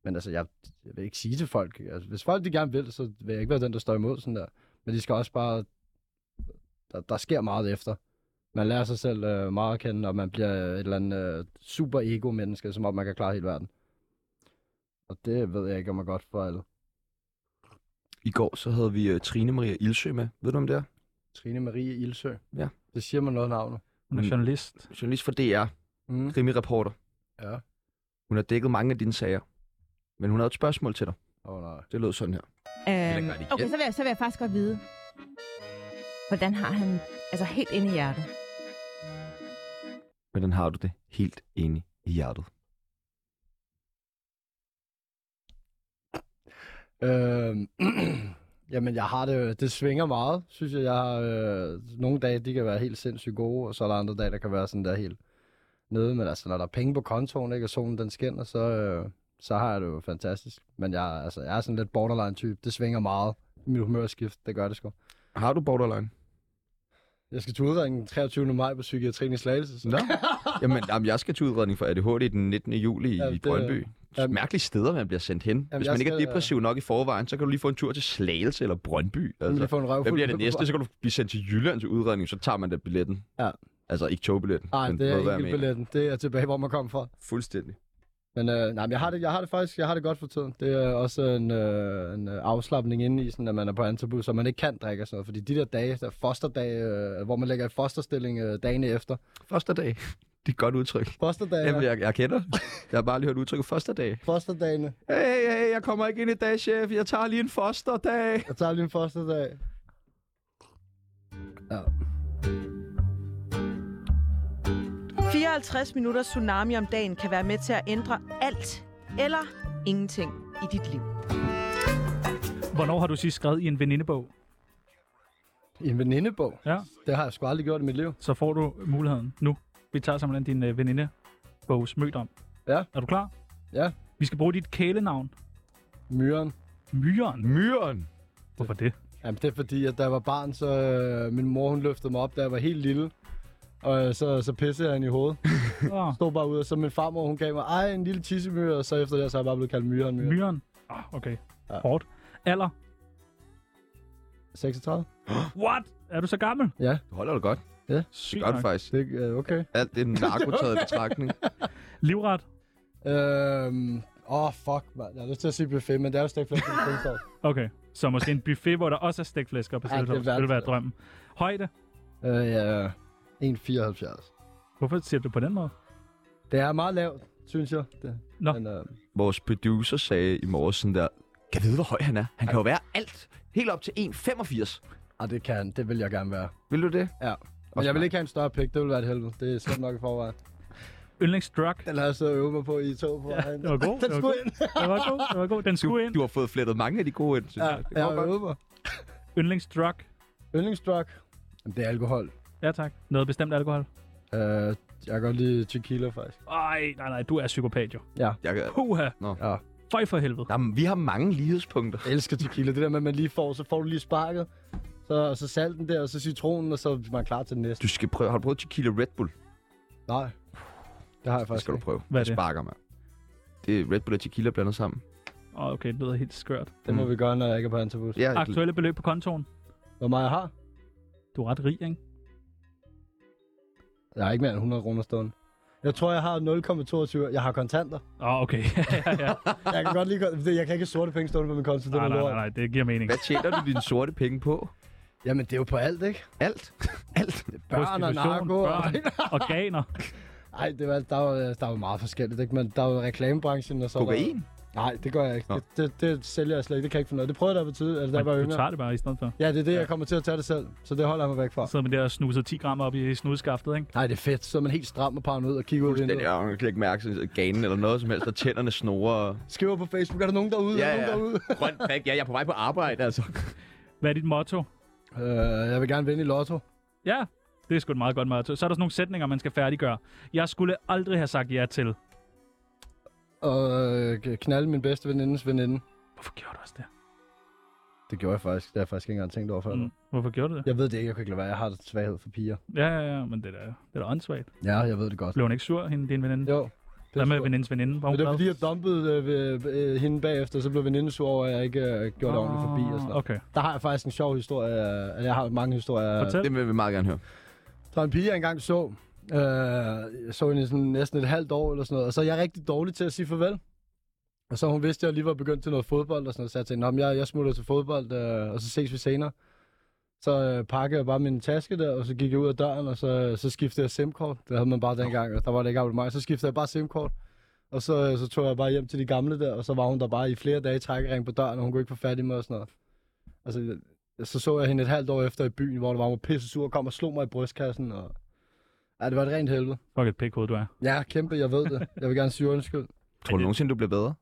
Men altså, jeg, jeg vil ikke sige til folk, altså, hvis folk de gerne vil, så vil jeg ikke være den, der står imod sådan der. Men de skal også bare, der, der sker meget efter. Man lærer sig selv øh, meget at kende, og man bliver øh, et eller andet øh, super ego-menneske, som om man kan klare hele verden. Og det ved jeg ikke, om jeg godt for alle. I går så havde vi øh, Trine Maria Ildsø med. Ved du om det er? Trine Marie Ildsø. Ja. Det siger man noget navnet. hun er Mm. journalist. Journalist for DR. Mm. Krimireporter. Ja. Hun har dækket mange af dine sager. Men hun havde et spørgsmål til dig. Åh oh, nej. Det lød sådan her. Øhm, gøre det igen. okay, så vil, jeg, så vil jeg faktisk godt vide, hvordan har han altså helt inde i hjertet? Hvordan har du det helt inde i hjertet? Øhm, jamen, jeg har det, det svinger meget, synes jeg. jeg har, øh, nogle dage, de kan være helt sindssygt gode, og så er der andre dage, der kan være sådan der helt nede. Men altså, når der er penge på kontoen, ikke, og solen den skinner, så, øh, så har jeg det jo fantastisk. Men jeg, er- altså, jeg er sådan lidt borderline-type. Det svinger meget. Mit humørskift, det gør det sgu. Har du borderline? Jeg skal til udredning den 23. maj på psykiatrien i Slagelse. Så. Nå. Jamen, jamen, jeg skal til udredning for ADHD den 19. juli i Ja, ja, det- Brøndby. Det, Jamen- mærkelige steder, man bliver sendt hen. Hvis jeg man ikke er skal, øh, depressiv nok i forvejen, så kan du lige få en tur til Slagelse eller Brøndby. lige Altså. få en røvfuld. Hvad bliver det næste? Så kan du blive sendt til Jylland til udredning, så tager man da billetten. Ja. Altså ikke togbilletten. Nej, men det ved, hvad er jeg ikke mener. billetten. Det er tilbage, hvor man kom fra. Fuldstændig. Men øh, nej, men jeg har, det, jeg har det faktisk jeg har det godt for tiden. Det er også en, øh, en øh, afslappning inde i, sådan, at man er på antabus, så man ikke kan drikke og sådan noget. Fordi de der dage, der fosterdage, øh, hvor man ligger i fosterstilling øh, dagene efter. Første dag. Det er et godt udtryk. Fosterdage, Jamen, ja. jeg, jeg kender. det. Jeg har bare lige hørt udtrykket første dag. Fosterdagene. Hey, hey, jeg kommer ikke ind i dag, chef. Jeg tager lige en fosterdag. Jeg tager lige en fosterdag. Ja. 54 minutter tsunami om dagen kan være med til at ændre alt eller ingenting i dit liv. Hvornår har du sidst skrevet i en venindebog? I en venindebog. Ja, Det har jeg sgu aldrig gjort i mit liv. så får du muligheden nu. Vi tager simpelthen din øh, venindebogs mødt om. Ja. Er du klar? Ja. Vi skal bruge dit kælenavn, Myren. Myren. Myren. Hvorfor det? Jamen, det er fordi, at da jeg var barn, så øh, min mor, hun løftede mig op, da jeg var helt lille. Og øh, så, så pissede jeg hende i hovedet. Oh, Stod bare ud, og så min farmor, hun gav mig, ej, en lille tissemyre, og så efter det, så er jeg bare blevet kaldt myren, myren. myren. Oh, okay, Ja. hårdt. Alder? 36? What? Er du så gammel? Ja, Du holder det godt. Sygt Det gør du nok. faktisk. det er øh, okay. Alt det er narkotaget i betragtning. Livret? Øhm, åh, oh, fuck, man. Jeg har lyst til at sige buffet, men det er jo stegt flæsk med syltetøj. Okay, så måske en buffet, hvor der også er stegt flæsk og Ej, det er persillesovs. Det ville være værd. drømmen. Højde? øh, ja, 1,74. Hvorfor siger du det på den måde? Det er meget lavt, synes jeg. Det. Nå. Men, øh, Vores producer sagde i morges sådan der, kan vide, hvor høj han er. Han kan jo være alt. Helt op til 1,85. ah, det kan, det vil jeg gerne være. Vil du det? Ja. Men Også jeg vil mig. ikke have en større pik, det vil være et helvede. Det er slemt nok i forvejen. Yndlingsdrug? Den har jeg så øvet mig på i to på. Ja, Det var Den god. det var skulle god. ind. Det var god. Det var god. Den skulle ind. Du har fået flettet mange af de gode ind, synes Ja, jeg. Det jeg går har godt. øvet mig. Yndlingsdrug? Yndlingsdrug? Jamen, det er alkohol. Ja tak. Noget bestemt alkohol? Øh, jeg kan godt lide tequila, faktisk. Ej, nej, nej, du er psykopat jo. Jeg, kan- Puha. Ja. Føj for helvede. jamen, vi har mange lighedspunkter. Jeg elsker tequila. Det der med, at man lige får, så får du lige sparket. Så, og så salten der, og så citronen, og så er man klar til den næste. Du skal prøve. Har du prøvet tequila Red Bull? Nej, det har jeg Det faktisk skal du ikke. prøve. Hvad er det? det? sparker, mand. Det er Red Bull og tequila blandet sammen. Åh, oh, okay, det lyder helt skørt. Det må vi gøre, når jeg ikke er på antabus. Mm. Ja, Aktuelle beløb på kontoen? Hvor meget jeg har? Du er ret rig, ikke? Jeg har ikke mere end 100 kroner stående. Jeg tror, jeg har 0,22. Jeg har kontanter. Åh, oh, okay. ja, ja, ja. Jeg kan godt lide, kon- fordi jeg kan ikke have sorte penge stående på min konto. Det Nej, er nej, lort. nej, nej, det giver mening. Hvad tjener du dine sorte penge på? Jamen, det er jo på alt, ikke? Alt. Alt. Børn og Prostitution, narko. og- børn, organer. Nej, det var, der, var, der var meget forskelligt, ikke? Men der var reklamebranchen og så... var- Kokain? Nej, det gør jeg ikke. Nå. Det, det, det, sælger jeg slet ikke. Det kan jeg ikke finde noget. Det prøvede jeg da på tid, eller der var Men Du yngre. tager det bare i stedet for. Ja, det er det, jeg kommer til at tage det selv. Så det holder jeg mig væk fra. Så man der og snuser 10 gram op i snudskaftet, ikke? Nej, det er fedt. Så er man helt stram og paranoid og kigger ud af Den vinduet. der, man kan ikke mærke sådan, at ganen eller noget som helst, og tænderne snorer. Skriver på Facebook, er der nogen derude? Ja, er der nogen ja. Grøn prik. Ja, jeg er på vej på arbejde, altså. Hvad er dit motto? derude? Øh, jeg vil gerne vinde i lotto. Ja, det er sgu et meget godt motto. Så er der sådan nogle sætninger, man skal færdiggøre. Jeg skulle aldrig have sagt ja til. Og øh, knalde min bedste venindes veninde. Hvorfor gjorde du også det? Det gjorde jeg faktisk. Det har jeg faktisk ikke engang tænkt over før. Mm. Mm. Hvorfor gjorde du det? Jeg ved det ikke. Jeg kan ikke lade være. Jeg har en svaghed for piger. Ja, ja, ja, men det er da, det er da åndssvagt. Ja, jeg ved det godt. Blev hun ikke sur, hende, din veninde? Jo. Det Hvad med surt. venindens veninde? Var hun Men det var glad? fordi, jeg dumpede øh, ved- øh, hende bagefter, så blev veninden sur over, at jeg ikke øh, gjorde det ordentligt forbi. Og sådan Ah, noget. Okay, Der har jeg faktisk en sjov historie. øh, eller Jeg har mange historier. fortæl. Det vil vi meget gerne høre. Der var en pige, jeg engang så. Øh, jeg så hende i sådan næsten et halvt år eller sådan noget. Og så er jeg rigtig dårlig til at sige farvel. Og så hun vidste, at jeg lige var begyndt til noget fodbold og sådan noget. Så jeg tænkte, "Nå, men jeg, jeg smutter til fodbold, øh, og så ses vi senere. Så øh, pakkede jeg bare min taske der, og så gik jeg ud af døren, og så, så skiftede jeg simkort. Det havde man bare dengang, og der var det ikke abonnement. Så skiftede jeg bare simkort. Og så, så tog jeg bare hjem til de gamle der, og så var hun der bare i flere dage i trækkering på døren, og hun kunne ikke få fat i mig og sådan noget. Altså, så så jeg hende et halvt år efter i byen, hvor der var hun var pisse sur og kom og slog mig i brystkassen. Og... Ja, det var et rent helvede. Fuck et pikhoved, du er. Ja, kæmpe, jeg ved det. Jeg vil gerne sige undskyld. Tror du nogensinde, du bliver bedre?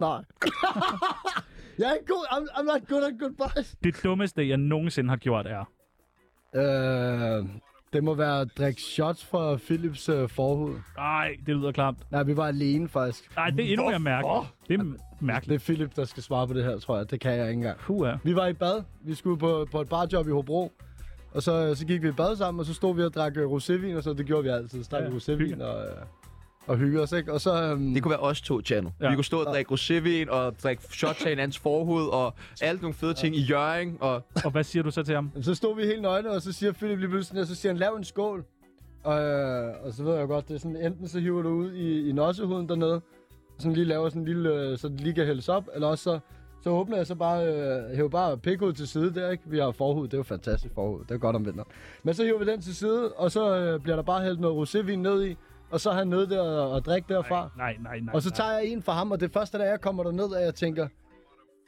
Nej. jeg er ikke god. I'm, I'm not good at goodbyes. Det dummeste, jeg nogensinde har gjort, er... Øh, det må være at drikke shots fra Philips øh, forhud. Ej, det lyder klamt. Nej, vi var alene faktisk. Nej, det er endnu mere mærkeligt. Det er m- Det mærkeligt. er Philip, der skal svare på det her, tror jeg. Det kan jeg ikke engang. Puh, ja. Vi var i bad. Vi skulle på, på et barjob i Hobro. Og så, så gik vi i bad sammen, og så stod vi og drak øh, rosévin, og så det gjorde vi altid. Så drak vi Ja, rosévin hygge. og, øh, og hygge os, ikke? Og så... Øhm, Det kunne være os to, channel. Ja. Ja. Vi kunne stå og drikke rosévin og drikke shots af hinandens forhud og alle nogle fede ting i Jørgen. Og Og hvad siger du så til ham? Jamen, Så stod vi helt nøgne, og så siger Philip lige pludselig, sådan her, så siger han, lav en skål. Og, øh, og så ved jeg jo godt, det er sådan, enten så hiver du ud i, i nossehuden dernede, og sådan lige laver sådan en lille, øh, så det lige kan hældes op, eller også så, så åbner jeg så bare, øh, hæver bare pikhud til side der, ikke? Vi har forhud, det er jo fantastisk forhud, det er godt om vinteren. Men så hiver vi den til side, og så øh, bliver der bare hældt noget rosévin ned i, og så er han nede der og, og drikke derfra. Nej, nej, nej. Og så tager jeg en fra ham, og det første, da jeg kommer derned, at jeg tænker,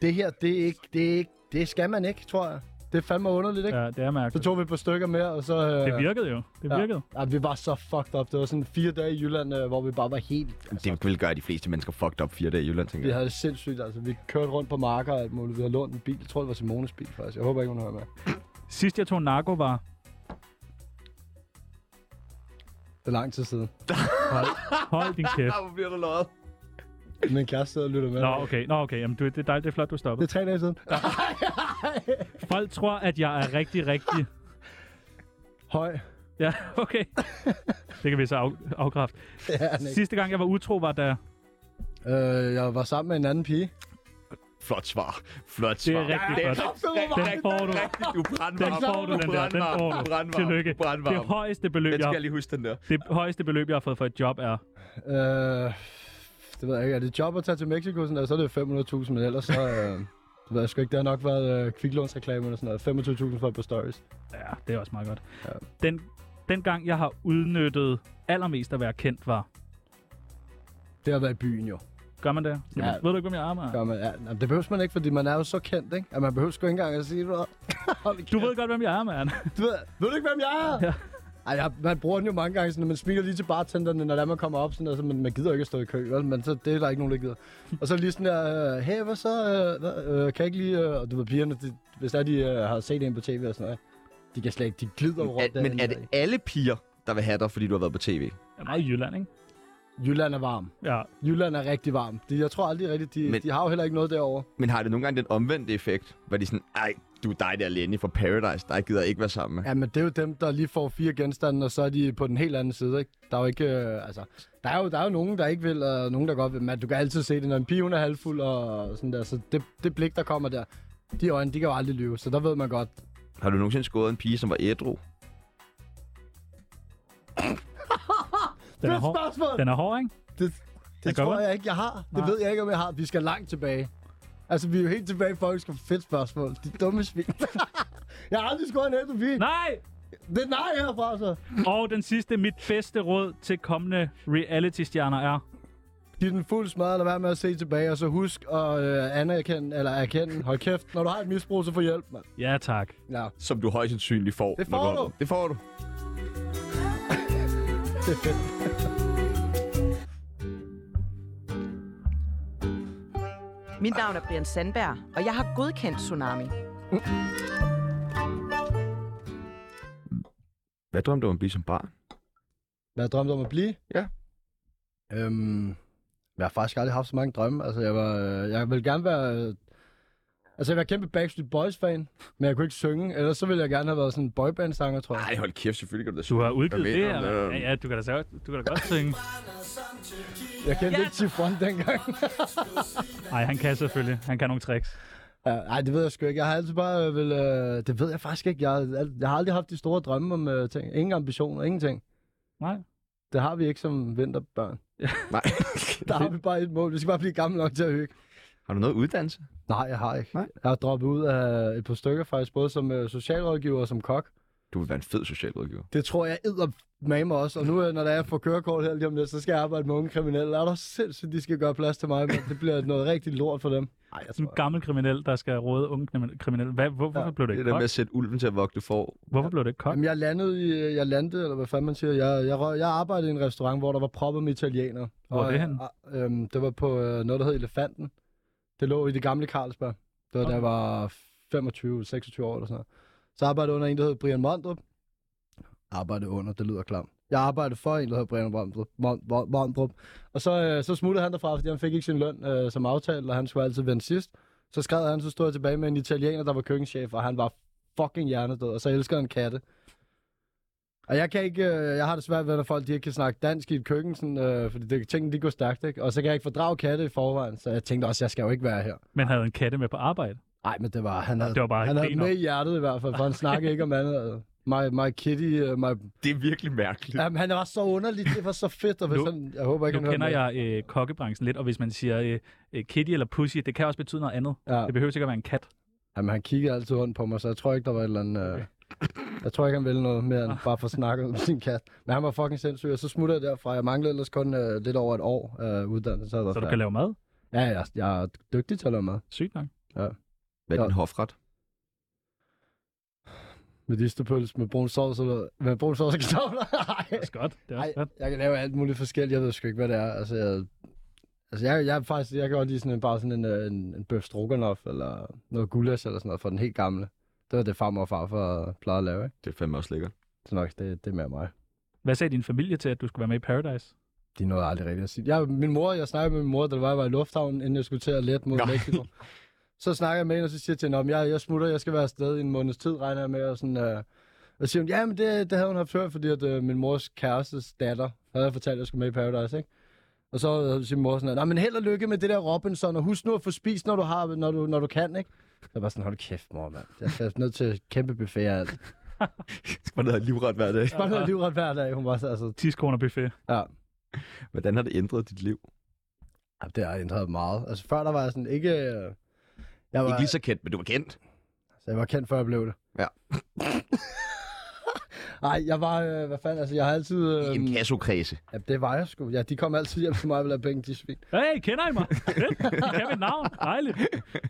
det her, det er ikke, det er ikke, det skal man ikke, tror jeg. Det er fandme underligt, ikke? nej. Ja. Ja, det er Så mærkeligt. tog vi et par stykker mere, og så... Øh, Det virkede jo. Det virkede. Ja, vi var så fucked up. Det var sådan fire dage i Jylland, øh, hvor vi bare var helt... altså, det ville gøre de fleste mennesker fucked up fire dage i Jylland, tænker Vi jeg. havde det sindssygt, altså. Vi kørte rundt på marker og alt muligt. Vi havde lånt en bil. Jeg tror, det var Simones bil, faktisk. Jeg håber ikke, hun hører med. Sidst jeg tog narko var... Det er lang tid siden. Hold din kæft. Ah, hvor bliver du løjet. Min kæreste sidder og lytter med. Nå, okay. Nå, okay. Jamen, du, det er dejligt. Det er flot, du Det stoppede. er tre dage siden. Folk tror, at jeg er rigtig, rigtig... Høj. Ja, okay. Det kan vi så af, afkræfte. Det er han ikke. Sidste gang, jeg var utro, var da... Øh, jeg var sammen med en anden pige. Flot svar. Flot Det svar. er rigtig det er flot. rigtig- rigtig- Den får du. Rigtig, du er Den brandvarm. får du, den der. Den brandvarm, får du. brandvarm, Tillykke. brandvarm. Det højeste beløb, Den skal jeg jeg, lige huske, den der. det højeste beløb, jeg har fået for et job, er... Øh, det ved jeg ikke. Er det job at tage til Mexico, sådan der, så er det 500.000, men ellers så... Øh, det ved jeg sgu ikke. Det har nok været øh, kviklånsreklame eller sådan noget. 25.000 for et par stories. Ja, det er også meget godt. Ja. Den, den gang, jeg har udnyttet allermest at være kendt, var... Det har været i byen jo. Gør man det? Jamen, Ja. Ved du ikke, hvem jeg er, man? Gør man, ja, nej, det behøver man ikke, fordi man er jo så kendt, ikke? At man behøver sgu ikke engang at sige, du, Du ved godt, hvem jeg er, man. du ved, ved du ikke, hvem jeg er? Ja. Ja. Ej, jeg, man bruger den jo mange gange, sådan, at man smiler lige til bartenderne, når det er, man kommer op, sådan, altså, man, man gider ikke at stå i kø, vel? men så, det er der ikke nogen, der gider. Og så lige sådan der, øh, hey, hvad så, øh, hvad, øh, kan jeg ikke lige, øh, og du ved, pigerne, de, hvis der de øh, har set en på tv og sådan noget, de kan slet ikke, de glider jo rundt Er, men er derinde. det alle piger, der vil have dig, fordi du har været på tv? Jeg er meget i Jylland, ikke? Jylland er varm. Ja. Jylland er rigtig varm. De, jeg tror aldrig rigtigt, de, Men- men... de har jo heller ikke noget derovre. Men har det nogle gange den omvendte effekt? Hvor de sådan, ej, du er dig der alene fra Paradise, der gider jeg ikke være sammen med. Ja, men det er jo dem, der lige får fire genstande, og så er de på den helt anden side, ikke? Der er jo ikke, øh, altså, der er jo, der er jo nogen, der ikke vil, og nogen, der godt vil, men du kan altid se det, når en pige, hun er halvfuld og sådan der, så det, det blik, der kommer der, de øjne, de kan jo aldrig lyve, så der ved man godt. Har du nogensinde skåret en pige, som var ædru? Den det er er et hård. spørgsmål! Den er hård, ikke? Det, Den det gør tror man. jeg ikke, jeg har. Det Nej. ved jeg ikke, om jeg har. Vi skal langt tilbage. Altså, vi er jo helt tilbage i folkeskolen. Fedt spørgsmål. De dumme svin. jeg har aldrig skåret en ældre pige. Nej! Det er nej herfra, så. Og den sidste, mit bedste råd til kommende reality-stjerner er... Giv den fuld smadret, lad være med at se tilbage, og så husk at øh, anerkende, eller erkende, hold kæft, når du har et misbrug, så få hjælp, mand. Ja, tak. Ja, Som du højst sandsynligt får. Det når får har- du. Det får du. det er fedt. Mit navn er Brian Sandberg, og jeg har godkendt Tsunami. Hvad drømte du om at blive som barn? Hvad jeg drømte om at blive? Ja. Øhm, jeg har faktisk aldrig haft så mange drømme. Altså, jeg, var, øh, jeg ville gerne være... Øh, altså, jeg var kæmpe Backstreet Boys-fan, men jeg kunne ikke synge. Ellers så ville jeg gerne have været sådan en boyband-sanger, tror jeg. Nej, hold kæft, selvfølgelig kan du da Du synge. har udgivet Jeg det, mener, eller? øh, Ja, ja, du kan da, så- du kan da godt synge. Jeg kendte ikke Chiffon dengang. Nej, han kan selvfølgelig. Han kan nogle tricks. Ja, Nej, Øh, det ved jeg sgu ikke. Jeg har altid bare øh, vil, øh, Det ved jeg faktisk ikke. Jeg, har al- jeg har aldrig haft de store drømme om øh, ting. Ingen ambitioner, ingenting. Nej. Det har vi ikke som vinterbørn. Nej. Der har vi bare et mål. Vi skal bare blive gamle nok til at hygge. har du noget uddannelse? Nej, jeg har ikke. Nej. Jeg har droppet ud af et par stykker faktisk, både som øh, socialrådgiver og som kok. Du vil være en fed socialrådgiver. Det tror jeg edder med mig også. Og nu, øh, når der er for kørekort her lige om lidt, så skal jeg arbejde med unge kriminelle. Er der sindssygt, de skal gøre plads til mig, men det bliver noget rigtig lort for dem. Nej, jeg Sådan en gammel kriminel, der skal råde unge krimi- kriminelle. Hvad, hvor, hvorfor blev det Det er ikke der med kok? at sætte ulven til at vogte for. Hvorfor blev det ikke kok? Jamen, jeg landede i, øh, jeg landede, eller hvad fanden man siger. Jeg, jeg, røg- jeg arbejdede i en restaurant, hvor der var proppet med italienere. Hvor er Og, det henne? øh, øhm, det var på øh, noget, der hed Elefanten. Det lå i det gamle Carlsberg. Det var, okay. da jeg var 25-26 år eller sådan noget. Så arbejdede jeg under en, der hed Brian Mondrup. Arbejdede under, det lyder klamt. Jeg arbejdede for en, der hed Brian Mondrup. Mon, Mon, Mondrup. Og så, øh, så smuttede han derfra, fordi han fik ikke sin løn øh, som aftalt, og han skulle altid vende sidst. Så skred han, så stod jeg tilbage med en italiener, der var køkkenchef, og han var fucking hjernedød, og så elsker han katte. Og jeg, kan ikke, øh, jeg har det svært ved, når folk de ikke kan snakke dansk i et køkken, sådan, øh, fordi det, tingene de går stærkt, ikke? Og så kan jeg ikke fordrage katte i forvejen, så jeg tænkte også, jeg skal jo ikke være her. Men havde en katte med på arbejde. Nej, men det var, han havde, Det var bare han havde griner. med i hjertet i hvert fald, for han snakkede ikke om andet. My, my kitty, uh, my... Det er virkelig mærkeligt. Jamen, han var så underlig, det var så fedt, og hvis Nu- han, jeg håber ikke, Nu han kender hører jeg øh, kokkebranchen lidt, og hvis man siger øh, øh, kitty eller pussy, det kan også betyde noget andet. med. Ja. Det behøver ikke at være en kat. Jamen, han kiggede altid rundt på mig, så jeg tror ikke, der var et eller andet... Øh... Jeg tror ikke, han ville noget mere end Ah. bare for at snakke om sin kat. Men han var fucking sindssyg, og så smuttede jeg derfra. Jeg manglede ellers kun øh, lidt over et år øh, uddannelse. Så, havde jeg været Så du færdig. kan lave mad. Ja, jeg, jeg er dygtig til at lave mad. Sygt nok. Hvad er din hofret? Med distepøls, med brun sovs og med brun sovs og kartofler. Det er også godt. Det er også Ej, godt. jeg kan lave alt muligt forskelligt. Jeg ved sgu ikke, hvad det er. Altså, jeg, altså jeg, jeg, er faktisk, jeg kan godt lide sådan en, bare sådan en, øh, en, en bøf stroganoff, eller noget gulasch eller sådan noget, for den helt gamle. Det var det, farmor og farfar plejede at lave, ikke? Det er fandme også lækkert. Så nok, det, det er mere mig. Hvad sagde din familie til, at du skulle være med i Paradise? De nåede aldrig rigtigt at sige. Jeg, min mor, jeg snakkede med min mor, da det var, jeg var i lufthavnen, inden jeg skulle til at lette mod Mexico. Så snakker jeg med hende, og så siger jeg til hende, "Nå, men jeg, jeg smutter, jeg skal være afsted i en måneds tid, regner jeg med. Og, sådan, øh, og så siger hun, ja, men det, det havde hun haft før, fordi at, øh, min mors kærestes datter havde jeg fortalt, at jeg skulle med i Paradise, ikke? Og så øh, siger min mor sådan, nej, men held og lykke med det der Robinson, og husk nu at få spist, når du, har, når du, når du kan, ikke? Så jeg var sådan, hold kæft, mor, mand. Jeg er nødt til at kæmpe buffet og alt. Skal man have livret hver dag? Det var noget livret hver dag, hun var så, altså, 10 kroner buffet. ja. Hvordan har det ændret dit liv? Ja, det har ændret meget. Altså før der var jeg sådan ikke... øh, Jeg var, Ikke lige så kendt, men du var kendt. så jeg var kendt, før jeg blev det. Ja. Nej, jeg var... Øh, hvad fanden? Altså, jeg har altid... I Øh, en kassokredse. ja, det var jeg sgu. Ja, de kom altid hjem til mig og ville have penge, de svin. Hey, kender I mig? Fedt. I kan mit navn. Dejligt.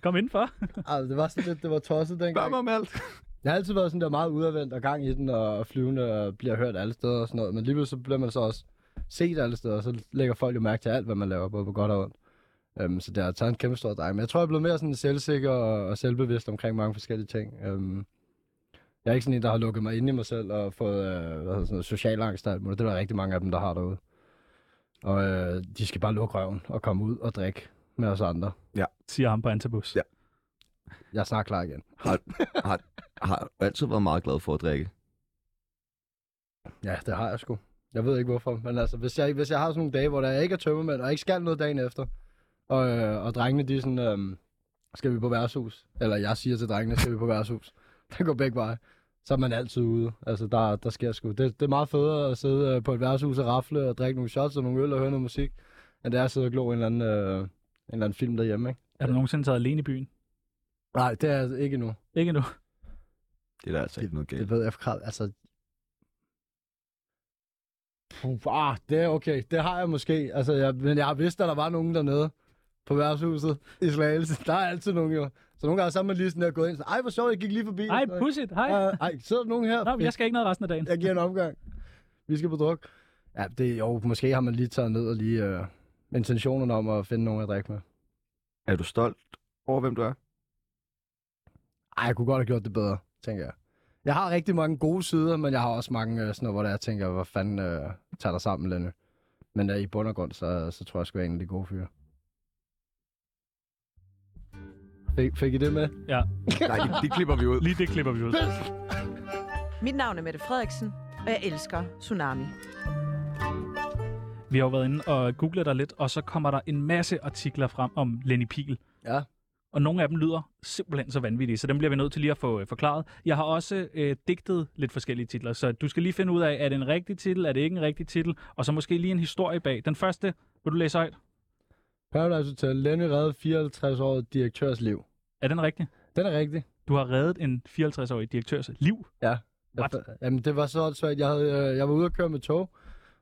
Kom indenfor. Altså, det var sådan lidt... Det var tosset Spørg dengang. mig om alt. Jeg har altid været sådan der meget udadvendt og gang i den og flyvende og bliver hørt alle steder og sådan noget. Men lige pludselig så bliver man så også set alle steder, og så lægger folk jo mærke til alt, hvad man laver, både på godt og ondt. Um, så det har taget en kæmpe stor drej. Men jeg tror, jeg er blevet mere sådan selvsikker og, og selvbevidst omkring mange forskellige ting. Um, jeg er ikke sådan en, der har lukket mig ind i mig selv og fået øh, hvad hedder sådan noget, social angst og alt muligt. Det er der rigtig mange af dem, der har derude. Og øh, de skal bare lukke røven og komme ud og drikke med os andre. Siger ham på Antabus. Ja. Jeg er snart klar igen. Har, har, har du altid været meget glad for at drikke? Ja, det har jeg sgu. Jeg ved ikke hvorfor, men altså, hvis jeg, hvis jeg har sådan nogle dage, hvor der jeg ikke er tømmermænd, og ikke skal noget dagen efter, og, øh, og drengene, de er sådan, øh, skal vi på værtshus? Eller jeg siger til drengene, skal vi på værtshus? Det går begge veje. Så er man altid ude. Altså, der, der sker sgu. Det, det er meget federe at sidde øh, på et værtshus og rafle og drikke nogle shots og nogle øl og høre noget musik, end det er at sidde og glo en eller anden, øh, en eller anden film derhjemme, ikke? Er du nogensinde taget alene i byen? Nej, det er jeg altså ikke endnu. Ikke endnu. Det er der altså ikke noget galt. Det ved jeg for krav. Altså... Puh, ah, det er okay. Det har jeg måske. Altså, jeg, men jeg har vidst, at der var nogen dernede på værtshuset i Slagelse. Der er altid nogen jo. Så nogle gange så er man lige sådan der gået ind. Sådan, Ej, hvor sjovt, jeg gik lige forbi. Ej, Så- pudsigt. Hej. Ja, Ej, sidder der nogen her? Nå, men jeg skal ikke noget resten af dagen. jeg giver en omgang. Vi skal på druk. Ja, det, jo, måske har man lige taget ned og lige øh, intentionerne om at finde nogen at drikke med. Er du stolt over, hvem du er? Ej, jeg kunne godt have gjort det bedre, tænker jeg. Jeg har rigtig mange gode sider, men jeg har også mange øh, sådan noget, hvor der jeg tænker, hvor fanden øh, tager dig sammen, Lenny. Men øh, i bund og grund, så, så tror jeg, jeg skulle være en af de gode fyre. Fik, fik I det med? Ja. Nej, det, det klipper vi ud. Lige det klipper vi ud. Mit navn er Mette Frederiksen, og jeg elsker Tsunami. Vi har jo været inde og googlet dig lidt, og så kommer der en masse artikler frem om Lenny Pihl. Ja. Og nogle af dem lyder simpelthen så vanvittige, så dem bliver vi nødt til lige at få øh, forklaret. Jeg har også øh, digtet lidt forskellige titler, så du skal lige finde ud af, er det en rigtig titel, er det ikke en rigtig titel, og så måske lige en historie bag. Den første, vil du læse højt? Paradise Hotel, Lenny redde 54 år direktørs liv. Er den rigtig? Den er rigtig. Du har reddet en 54-årig direktørs liv. What? Jeg, jamen, det var så svært. Jeg, havde, øh, jeg var ude at køre med tog,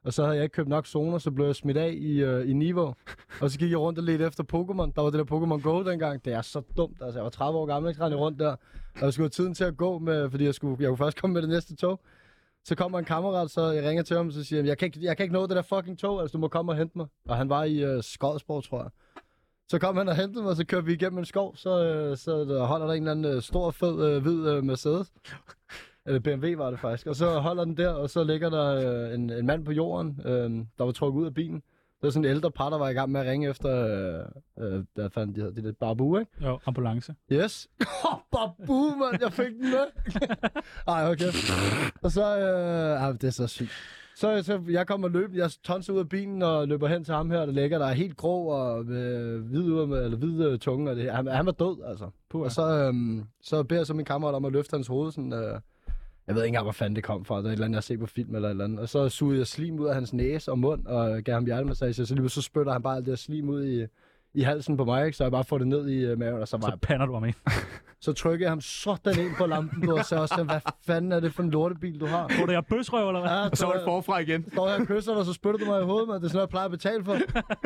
og så havde jeg ikke købt nok zoner, så blev jeg smidt af i, øh, i Niveau. Og så gik jeg rundt og ledte efter Pokémon. Der var det der Pokémon Go dengang. Det er så dumt. Altså, jeg var 30 år gammel, ikke rendte rundt der. Og jeg skulle have tiden til at gå, med, fordi jeg, skulle, jeg kunne først komme med det næste tog. Så kommer en kammerat, så jeg ringer til ham, så siger han, jeg kan, ikke, jeg kan ikke nå det der fucking tog, altså du må komme og hente mig. Og han var i øh, Skodsborg, tror jeg. Så kom han og hentede mig, og så kørte vi igennem en skov, så, øh, så der holder der en eller anden øh, stor, fed, øh, hvid øh, Mercedes. Eller BMW var det faktisk. Og så holder den der, og så ligger der øh, en, en mand på jorden, øh, der var trukket ud af bilen. Det var sådan en ældre par, der var i gang med at ringe efter, øh, øh, hvad fanden de hedder, det der Babu, ikke? Jo, ambulance. Yes. Babu, mand, jeg fik den med. Ej, okay. Og så, øh, ej, det er så sygt. Så, så jeg kommer løbende, jeg tonser ud af bilen og løber hen til ham her, der ligger der er helt grå og øh, hvid, ud af, eller hvid øh, tunge. Og det, han, han var død, altså. Puh, Og så, øhm, så beder jeg så min kammerat om at løfte hans hoved. Sådan, øh, jeg ved ikke engang, hvor fanden det kom fra. Det er et eller andet, jeg ser på film eller et eller andet. Og så sugede jeg slim ud af hans næse og mund og gav ham hjertemassage. Så lige så spytter han bare alt det her slim ud i, i halsen på mig, ikke? så jeg bare får det ned i øh, maven, og så, var så pander du ham ind. så trykker jeg ham sådan ind på lampen, du, og så også, hvad fanden er det for en lortebil, du har? Tror du, jeg er bøsrøv, eller hvad? Ja, øh, Så var det forfra igen. står her og kysser dig, og så spytter du mig i hovedet, mand. Det er sådan noget, jeg plejer at betale for.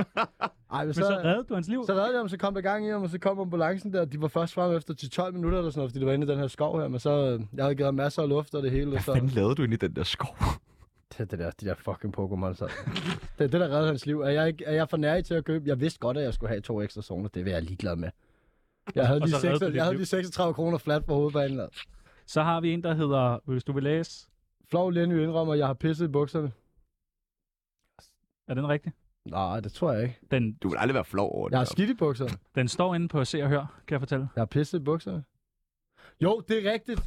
Ej, men Men så reddede du hans liv. så reddede jeg ham, så kom der gang i ham, og så kom ambulancen der. De var først frem efter 10-12 minutter eller sådan noget, fordi det var inde i den her skov her. Men så, øh, jeg havde givet ham masser af luft og det hele. og Hvad Så, fanden lavede du ind i den der skov? det, er det der, de der fucking Pokémon, så. det er det, der reddede hans liv. Er jeg, ikke, er jeg for nær til at købe? Jeg vidste godt, at jeg skulle have to ekstra zoner. Det vil jeg ligeglad med. Jeg havde, Og lige, så reddede 6, du dit jeg havde liv. lige 36 kroner flat på hovedbanen. altså. Så har vi en, der hedder, hvis du vil læse, Flov Lenny indrømmer, at jeg har pisset i bukserne. er den rigtig? Nej, det tror jeg ikke. Den, Du vil aldrig være flov over det. Jeg har der. skidt i bukserne. den står inde på Se og Hør, kan jeg fortælle. Jeg har pisset i bukserne. Jo, det er rigtigt.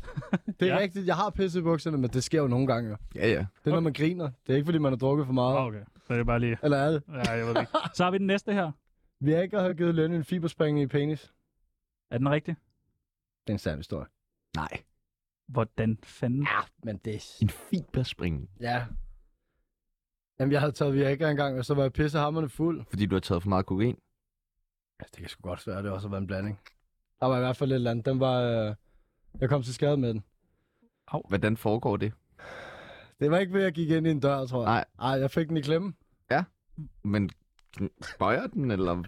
Det er Ja. ja. rigtigt. Jeg har pisset i bukserne, men det sker jo nogle gange. jo. Det Ja, ja. er, når man griner. Det er ikke, fordi man har drukket for meget. Ah, Okay, så er det bare lige... Eller er det? Ja, jeg ved det ikke. Så har vi den næste her. Vi har ikke har givet Lenny en fiberspringning i penis. Er den rigtig? Det er en særlig historie. Nej. Hvordan fanden? Ja, men det En fiberspring. Ja. Jamen, jeg havde taget Viagra engang, og så var jeg pissehammerne fuld. Fordi du har taget for meget kokain. Altså, det kan sgu godt være, at det også har været en blanding. Der var i hvert fald et eller andet. Den var... Øh... Jeg kom til skade med den. Hvordan foregår det? Det var ikke ved, at jeg gik ind i en dør, tror jeg. Nej. Ej, jeg fik den i klemme. Men bøjer den, eller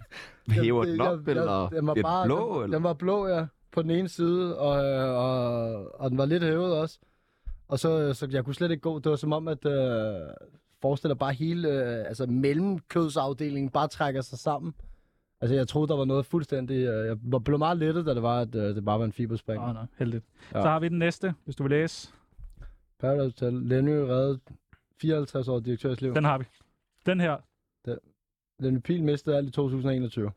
hæver den op, eller den var bliver bare, den blå? den, eller? den var blå, ja, på den ene side, og, øh, og, og den var lidt hævet også. Og så, øh, så jeg kunne slet ikke gå. Det var som om, at øh, forestiller bare hele øh, altså mellemkødsafdelingen bare trækker sig sammen. Altså, jeg troede, der var noget fuldstændig... Øh, jeg var- blev meget lettet, da det var, at øh, det bare var en fiberspring. Åh, oh, nej, heldigt. Ja. Så har vi den næste, hvis du vil læse. Paradise Hotel, Lenny reddede 54 år direktørs liv. Den har vi. Den her. Lenny Pil mistede alt i 2021.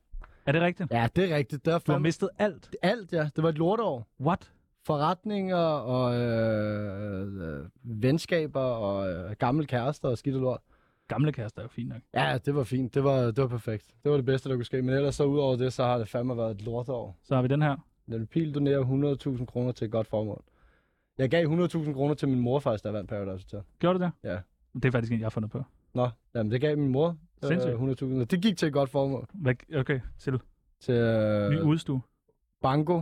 Er det rigtigt? Ja, det er rigtigt. Der er Du har fandme- mistet alt. alt, ja. Det var et lorteår. What? forretninger og øh, øh, venskaber og øh, gamle kærester og skidt og lort. Gamle kærester er jo fint nok. Ja, det var fint. Det var, det var perfekt. Det var det bedste, der kunne ske. Men ellers så udover det, så har det fandme været et lortår. Så har vi den her. Lennart Pil donerer 100.000 kroner til et godt formål. Jeg gav 100.000 kroner til min mor faktisk, der vandt Paradise Hotel. Gjorde du det? Ja. Det er faktisk en, jeg har fundet på. Nå, jamen det gav min mor øh, Sindssygt. 100.000. Det gik til et godt formål. Hvad- Okay, til Til ny øh, udstue. banko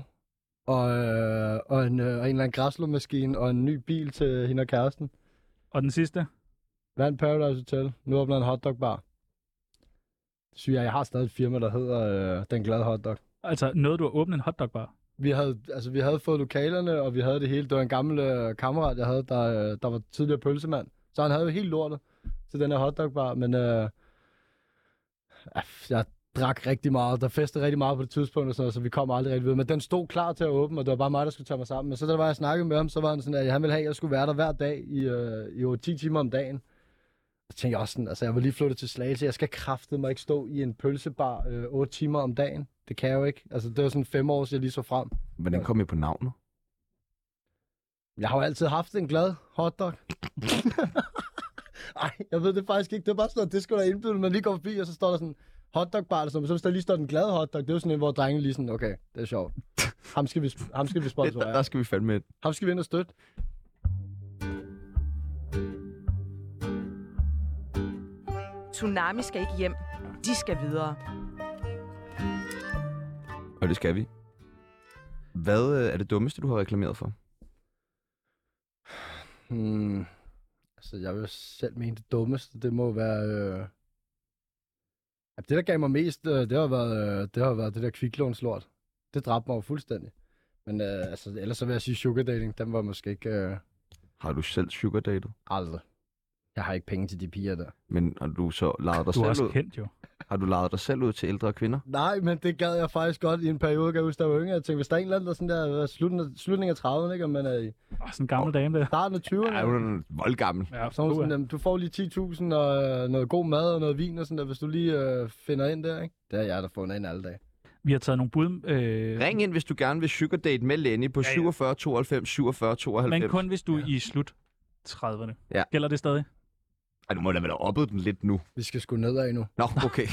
og, øh, og, en, øh, og en eller anden græslåmaskine og en ny bil til hende og kæresten. Og den sidste? Vandt Paradise Hotel. Nu åbner en hotdogbar. Syg, jeg har stadig et firma, der hedder øh, Den Glade Hotdog. Altså, noget du har åbnet en hotdogbar. Vi havde, altså, vi havde fået lokalerne, og vi havde det hele. Det var en gammel øh, kammerat, jeg havde, der, øh, der var tidligere pølsemand. Så han havde jo helt lortet til den her hotdogbar, men øh, ah, jeg drak rigtig meget. Der festede rigtig meget på det tidspunkt, og sådan noget, så vi kom aldrig rigtig videre. Men den stod klar til at åbne, og det var bare mig, der skulle tage mig sammen. Men så da var jeg snakkede med ham, så var han sådan, at han ville have, at jeg skulle være der hver dag i, øh, i over 10 timer om dagen. Så tænkte jeg også sådan, altså jeg var lige flyttet til Slagelse, jeg skal kraftedeme mig ikke stå i en pølsebar øh, 8 timer om dagen. Det kan jeg jo ikke. Altså det var sådan fem år, så jeg lige så frem. Hvordan kom I på navnet? Jeg har jo altid haft en glad hotdog. Ej, jeg ved det faktisk ikke. Det er bare sådan, noget, det skulle der indbyde, man lige går forbi, og så står der sådan hotdogbar, eller sådan, noget. så hvis der lige står den glade hotdog, det er jo sådan en, hvor drengene lige sådan, okay, det er sjovt. Ham skal vi, sp- ham skal vi Det, der, der sponsorere. skal vi fandme ind. Ham skal vi ind og støtte. Tsunami skal ikke hjem. De skal videre. Og det skal vi. Hvad øh, er det dummeste, du har reklameret for? Hmm. Altså, jeg vil selv mene det dummeste, det må være... Øh... Ja, Det, der gav mig mest, øh, det har været øh, det, har været det der kviklånslort. Det dræbte mig jo fuldstændig. Men øh, altså, ellers så vil jeg sige sugar dating, den var måske ikke øh, Har du selv sugar dated? aldrig. Jeg har ikke penge til de piger der. Men har du så lejet dig Du er selv også ud? kendt jo. Har du lejet dig selv ud til ældre kvinder? Nej, men det gad jeg faktisk godt i en periode, kan jeg huske, der var yngre. Jeg tænkte, hvis der er en eller anden, der er sådan der slutningen, slutningen af 30'erne, ikke? Og man er i Åh, sådan en gammel dame der. starten af 20'erne. Nej, hun er voldgammel. Ja, Så er hun puha. sådan, jamen, du får lige 10.000 og øh, noget god mad og noget vin og sådan der, hvis du lige øh, finder ind der, ikke? Det er jeg, der fundet ind alle dage. Vi har taget nogle bud. Øh, Ring ind, hvis du gerne vil sugar date med Lenny på ja. 47 92 47 92. men kun hvis du er i slut 30'erne. Ja. Gælder det stadig? Ej, du må da vel have oppet den lidt nu. Vi skal sgu nedad nu. Nå, okay.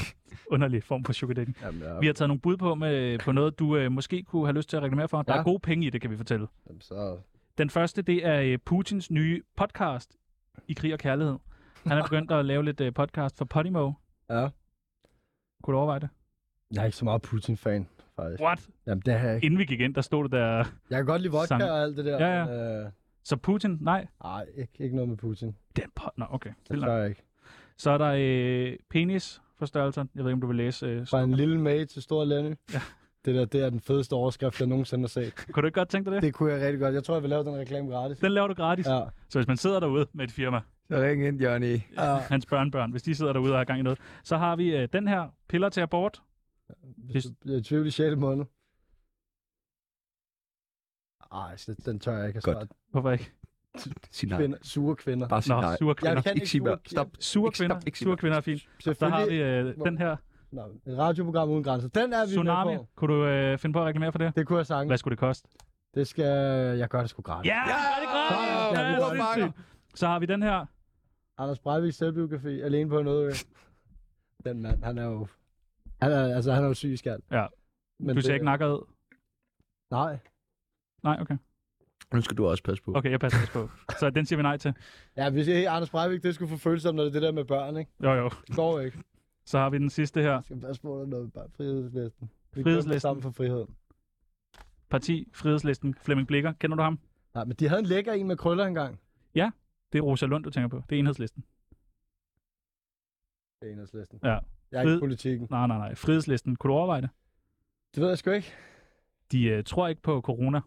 Underlig form for sugar dating. Jamen, ja, Vi har taget nogle bud på, med, på noget, du øh, måske kunne have lyst til at reklamere for. Der Ja. er gode penge i det, kan vi fortælle. jamen, så... Den første, det er øh, Putins nye podcast i krig og kærlighed. Han er begyndt at lave lidt øh, podcast for Podimo. Ja. Kunne du overveje det? Jeg er ikke så meget Putin-fan, faktisk. What? Jamen, det har jeg ikke. Inden vi gik ind, der stod det der... Jeg kan godt lide vodka Sang. og alt det der. Ja, ja. men, Øh, Så Putin? Nej. ej, ikke, ikke noget med Putin. Den pod... Nå, okay. Det Vildt tør nok. jeg ikke. Så er der øh, penis forstørrelser. Jeg ved ikke, om du vil læse. Øh, Fra en lille mage til stor Lenny. Ja. Det der, det er den fedeste overskrift, jeg nogensinde har set. kunne du ikke godt tænke dig det? Det kunne jeg rigtig godt. Jeg tror, jeg vil lave den reklame gratis. Den laver du gratis. Ja. Så hvis man sidder derude med et firma, Så ring ind, Johnny. ja. hans børnebørn, hvis de sidder derude og har gang i noget, så har vi øh, den her, piller til abort. Hvis du bliver i tvivl i 6. måned. Ej, så den tør jeg ikke at Godt. svare. Hvorfor ikke? Sig nej. Kvinder, sure kvinder. Bare sig Nå, nej. sure Jeg kvinder. kan Ikke ikke sige mere. sure- Stop. Sure Ikke kvinder, stop, ikke sig sure mere. kvinder er fint. Så har vi Selvfølgelig. øh, den her Nå, et radioprogram uden grænser. Den er vi tsunami. med på. Kunne du øh, finde på at reklamere for det? Det kunne jeg sange. Hvad skulle det koste? Det skal... Jeg gør det sgu gratis. Ja, ja det er gratis! Ja, Ja, vi det er går sindssygt. Så har vi den her. Anders Breivik selvbiografi. Alene på noget. øh. Den mand, han er jo... Han er, altså, han er jo syg skald. Ja. Men Du ser ikke nakker ud. Nej. Nej, okay. Nu skal du også passe på. Okay, jeg passer også på. Så den siger vi nej til. Ja, hvis hey, Anders Breivik, det skulle få følsomt, når det er det der med børn, ikke? Jo, jo. Det går ikke. Så har vi den sidste her. Jeg skal passe på, der er noget med børn. Frihedslisten. Vi Frihedslisten. kæmper sammen for friheden. Parti, Frihedslisten, Flemming Blikker. Kender du ham? Nej, men de havde en lækker en med krøller engang. Det er Rosa Lund, du tænker på. Det er Enhedslisten. Det er enhedslisten. Ja. Jeg er ikke Fed. i politikken. Nej, nej, nej. Frihedslisten. Kunne du overveje det? Det ved jeg sgu ikke. De øh, tror ikke på corona.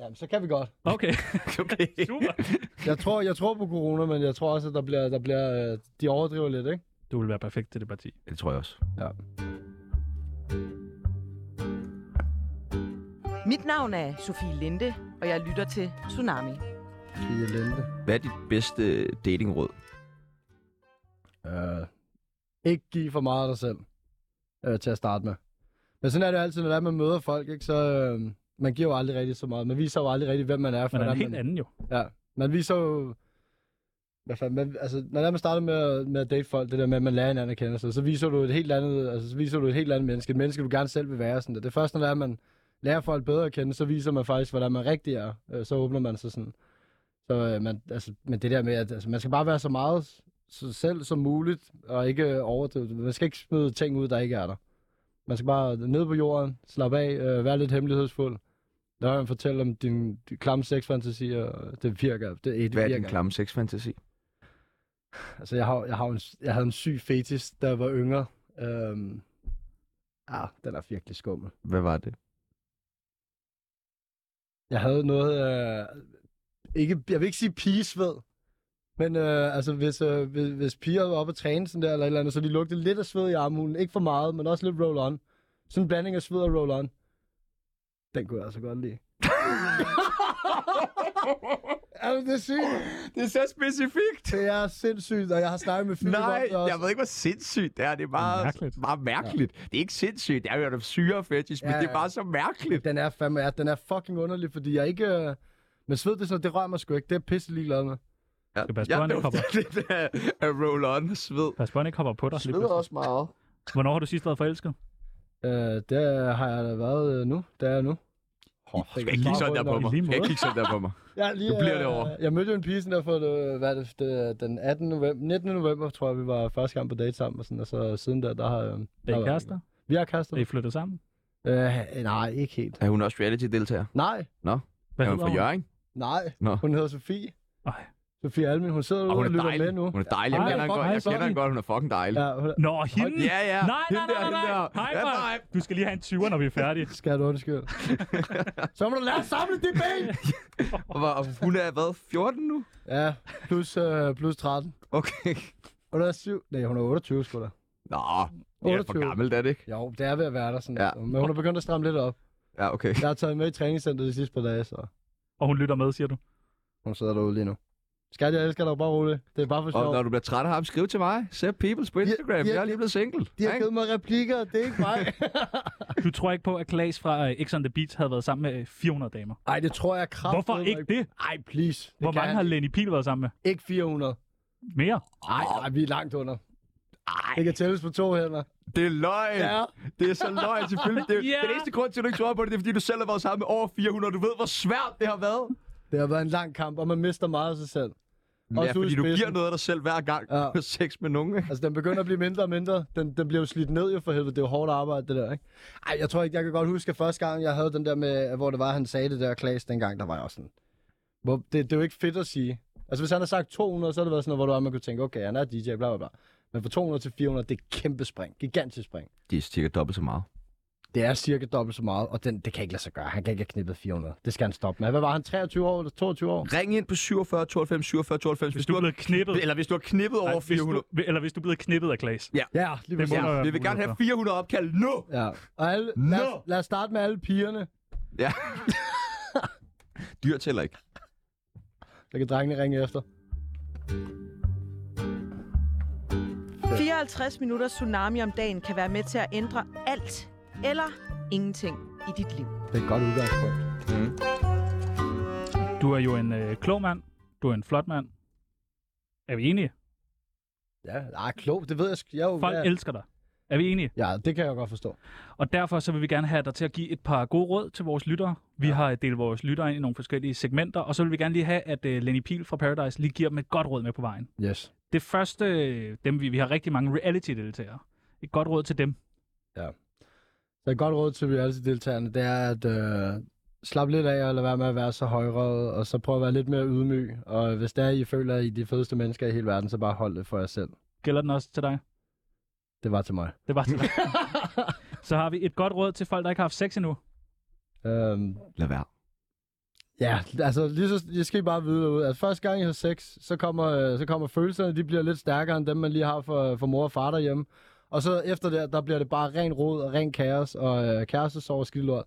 Jamen, så kan vi godt. Okay, okay. super. Jeg tror, jeg tror på corona, men jeg tror også, at der bliver, der bliver, øh, de overdriver lidt, ikke? Du vil være perfekt til det parti. Det tror jeg også. Mit navn er Sofie Linde, og jeg lytter til Tsunami. Pia Lente. Hvad er dit bedste datingråd? Øh, ikke give for meget af dig selv øh, til at starte med. Men sådan er det jo altid, når det er, man møder folk, ikke? Så øh, man giver jo aldrig rigtig så meget. Man viser jo aldrig rigtig, hvem man er. Men den er hvordan en helt man, anden jo. Ja, man viser jo... Hvad fanden, man, altså, når det er, man starter med at, med at date folk, det der med, at man lærer hinanden at kende sig, så viser du et helt andet, altså, så viser du et helt andet menneske, et menneske, du gerne selv vil være. Sådan der. Det første, når det er, man lærer folk bedre at kende, så viser man faktisk, hvordan man rigtig er. Øh, Så åbner man sig sådan. Så, øh, man, altså, men det der med, at altså, man skal bare være så meget s- sig selv som muligt, og ikke øh, overdrive. det. Man skal ikke smide ting ud, der ikke er der. Man skal bare ned på jorden, slappe af, øh, være lidt hemmelighedsfuld. Der har man fortælle om din, din klamme sexfantasier, og det virker. Det, det Hvad er virker. din klamme sexfantasi? Altså, jeg, har, jeg, har en, jeg havde en syg fetis, da jeg var yngre. Øhm, ah, den er virkelig skummel. Hvad var det? Jeg havde noget... Øh, ikke, jeg vil ikke sige pigesved, men øh, altså, hvis, øh, hvis, hvis piger var oppe og træne sådan der, eller et eller andet, så de lugtede lidt af sved i armhulen. Ikke for meget, men også lidt roll-on. Sådan en blanding af sved og roll-on. Den kunne jeg altså godt lide. Jamen, det er sygt. Det er så specifikt. Det er sindssygt, og jeg har snakket med Philip om Nej, det også. jeg ved ikke, hvor sindssygt det er. Det er bare Mærkeligt. mærkeligt. Bare mærkeligt. Ja. Det er ikke sindssygt. Det er jo et syre fetish, men Ja, ja, det er ja. bare så mærkeligt. Den er fandme, ja, den er fucking underlig, fordi jeg ikke... Øh... Men sved, det, så, det rører mig sgu ikke. Det er jeg pisse ligeglad med. Ja. skal passe på, han ikke hopper. det er at roll on sved. Pas på, han ikke hopper på dig. lige pludselig. meget. Hvornår har du sidst været forelsket? Øh, det har jeg da været øh, nu. Det er jeg nu. Du skal ikke kigge sådan der på mig. lige Du skal ikke måde. kigge sådan der på mig. Jeg, er lige, Du bliver derovre. Øh, jeg mødte jo en pige sådan der for øh, hvad er det, det, den 18. november, 19. november, tror jeg, vi var første gang på date sammen. Og, sådan, og så siden der, der har jeg... Øh, Er der I var- kærester? Vi har Er I kærester. flyttet sammen? Øh, nej, ikke helt. Er hun også reality-deltager? Nej, Hvad er hun fra Jørgen? nej. Nå. Hun hedder Sofie. Ej. Sofie Almin, hun sidder Og derude hun og er lytter med dejlig. nu. Hun er dejlig. Jeg Ej, kender hende fuck, godt. Jeg hej, kender hende godt. Hun er fucking dejlig. Ja, hun, Nå, hende? Ja, ja. Nej, nej, Hende der, nej, nej, hende nej. der. High Ja, five. Du skal lige have en 20'er, når vi er færdige. skal du undskylde. så må du lære at samle de ben! Og, hvor- og hun er, hvad, 14 nu? Ja, plus, øh, plus 13. Okay. Og der er syv... Nej, hun er 28, sgu da. Nå, det er for 28. gammelt, er det ikke? Jo, det er ved at være der sådan. Ja. Ja. Men hun er begyndt at stramme lidt op. Ja, okay. Jeg har taget med i træningscenteret de sidste par dage, så Og hun lytter med, siger du? hun sidder derude lige nu. Skat, jeg elsker dig, bare rolig. Det er bare for sjov. Og når du bliver træt af ham, skriv til mig. Sepp Peoples på de Instagram. har- Jeg er lige blevet single. De har ikke? givet mig replikker, det er ikke mig. Du tror ikke på, at Klaas fra øh, X on the Beach havde været sammen med øh, 400 damer? Ej, det tror jeg kraft. Hvorfor ikke det? Ej, please. Det Hvor kan mange jeg har Lenny Pihl været sammen med? Ikke 400. Mere? Ej, ej, vi er langt under. Ej. Det kan tælles på to hænder. Det er løgn. Ja. Det er så løgn, selvfølgelig. Det, Ja. yeah. Den eneste grund til, at du ikke tror på det, det er, fordi du selv har været sammen med over 400. Du ved, hvor svært det har været. Det har været en lang kamp, og man mister meget af sig selv. ja, ude i fordi du spidsen. giver noget af dig selv hver gang. Ja. Ja. Sex med nogen, ikke? Altså, den begynder at blive mindre og mindre. Den, den bliver jo slidt ned jo for helvede. Det er jo hårdt arbejde, det der, ikke? Ej, jeg tror ikke, jeg kan godt huske, at første gang, jeg havde den der med, hvor det var, han sagde det der Klaas dengang, der var jeg også sådan... Hvor, det, det, er jo ikke fedt at sige. Altså, hvis han har sagt 200, så har det været sådan noget, hvor det var, man kunne tænke, okay, han er DJ, bla bla bla. Men fra 200 til 400, det er et kæmpe spring. Gigantisk spring. De er cirka dobbelt så meget. Det er cirka dobbelt så meget, og den, det kan ikke lade sig gøre. Han kan ikke have knippet 400. Det skal han stoppe med. Hvad var han, 23 år eller 22 år? Ring ind på 47 92 47 92, hvis, Hvis du er har, blevet knippet. eller hvis du har knippet Nej, over hvis du, 400. eller hvis du er blevet knippet af Klaas. Ja, lige Det må præcis. der være Vi vil gerne have 400 opkald nu! Ja. Og alle, lad, Nå! os, lad os starte med alle pigerne. Ja. Dyr tæller ikke. Så kan drengene ringe efter. 54 minutter tsunami om dagen kan være med til at ændre alt eller ingenting i dit liv. Det er et godt udgangspunkt. muligheder. Du er jo en øh, klog mand. Du er en flot mand. Er vi enige? Ja, ah, klog. Det ved jeg. sgu- Jeg, er jo, Folk jeg, elsker dig. Er vi enige? ja, det kan jeg godt forstå. Og derfor så vil vi gerne have dig til at give et par gode råd til vores lyttere. Vi har øh, delt vores lyttere ind i nogle forskellige segmenter, og så vil vi gerne lige have, at øh, Lenny Pihl fra Paradise lige giver dem et godt råd med på vejen. Yes. Det første, øh, dem vi, vi har rigtig mange reality-deltagere. Et godt råd til dem. Så et godt råd til reality-deltagerne, det er at øh, slappe lidt af og lade være med at være så højrøget, og så prøve at være lidt mere ydmyg. Og hvis der er, I føler, at I er de fedeste mennesker i hele verden, så bare hold det for jer selv. Gælder den også til dig? Det var til mig. Det var til dig. så har vi et godt råd til folk, der ikke har haft sex endnu. Øhm, Lad være. Ja, altså lige så, jeg skal I bare vide ud, at første gang I har sex, så kommer, øh, så kommer følelserne, de bliver lidt stærkere end dem, man lige har for, for mor og far derhjemme. Og så efter det, der bliver det bare ren rod og ren kaos og øh, kærestesorg og skidelort.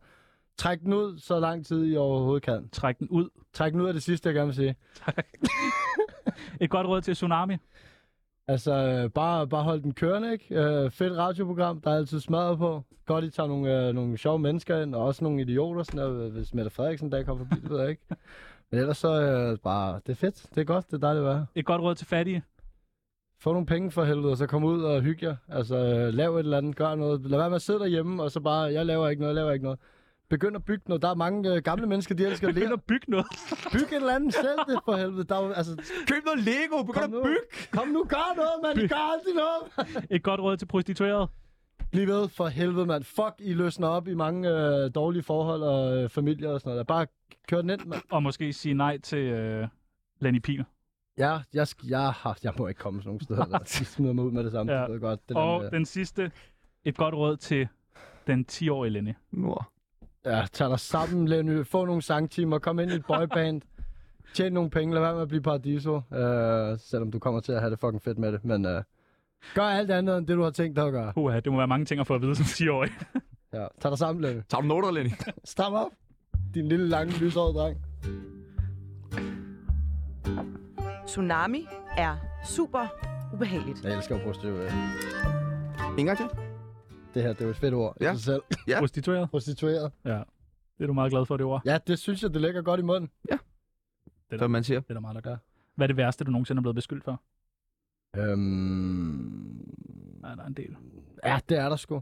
Træk den ud så lang tid, I overhovedet kan. Træk den ud. Træk den ud af det sidste, jeg gerne vil sige. Et godt råd til Tsunami. Altså, øh, bare, bare hold den kørende, ikke? Øh, fedt radioprogram, der er altid smadret på. Godt, I tager nogle, øh, nogle sjove mennesker ind, og også nogle idioter, sådan der, øh, hvis Mette Frederiksen en dag kommer forbi, det ved jeg ikke. Men ellers så øh, bare, det er fedt, det er godt, det er dejligt at være. Et godt råd til fattige. Få nogle penge for helvede, og så kom ud og hygge jer. Altså, øh, lav et eller andet, gør noget. Lad være med at sidde derhjemme, og så bare, jeg laver ikke noget, jeg laver ikke noget. Begynd at bygge noget. Der er mange øh, gamle mennesker, de elsker at Begynd lære. at bygge noget. Byg et eller andet selv, det for helvede. Der er, jo- altså, Køb noget Lego! Begynd Kom at nu. bygge! kom nu, gør noget, mand. I gør altid noget. Et godt råd til prostituerede. Bliv ved for helvede, mand. Fuck, I løsner op i mange øh, dårlige forhold og øh, familier og sådan noget. Bare kør den ind, mand. Og måske sige nej til øh, Lenny Pihl. Ja, jeg, sk- jeg, har- jeg må ikke komme sådan nogle steder. der. De smider mig ud med det samme. Ja. Ja. Det ved jeg godt. Det øh, der Og med- den sidste. Et godt råd til den 10-årige Lenny. Nord. Ja, tag dig sammen, Lenny. Få nogle sangtimer. Kom ind i et boyband. Tjen nogle penge. Lad være med at blive paradiso. Øh, selvom du kommer til at have det fucking fedt med det. Men øh, gør alt andet, end det du har tænkt dig at gøre. Puha, det må være mange ting at få at vide som 10-årig. Ja, tag dig sammen, Lenny. Tager du noter, Lenny? Stram op. Din lille, lange, lyshårede dreng. Tsunami er super ubehageligt. Jeg elsker at bruge støv. øh. En gang til. Det her, det er jo et fedt ord. Ja. Ja. Sig selv. Ja. Prostitueret. Prostitueret. Ja. Det er du meget glad for, det ord. Ja, det synes jeg, det ligger godt i munden. Som man siger. Det er der meget, der gør. Hvad er det værste, du nogensinde er blevet beskyldt for? Øhm... Nej, der er en del. Ja, det er der sgu.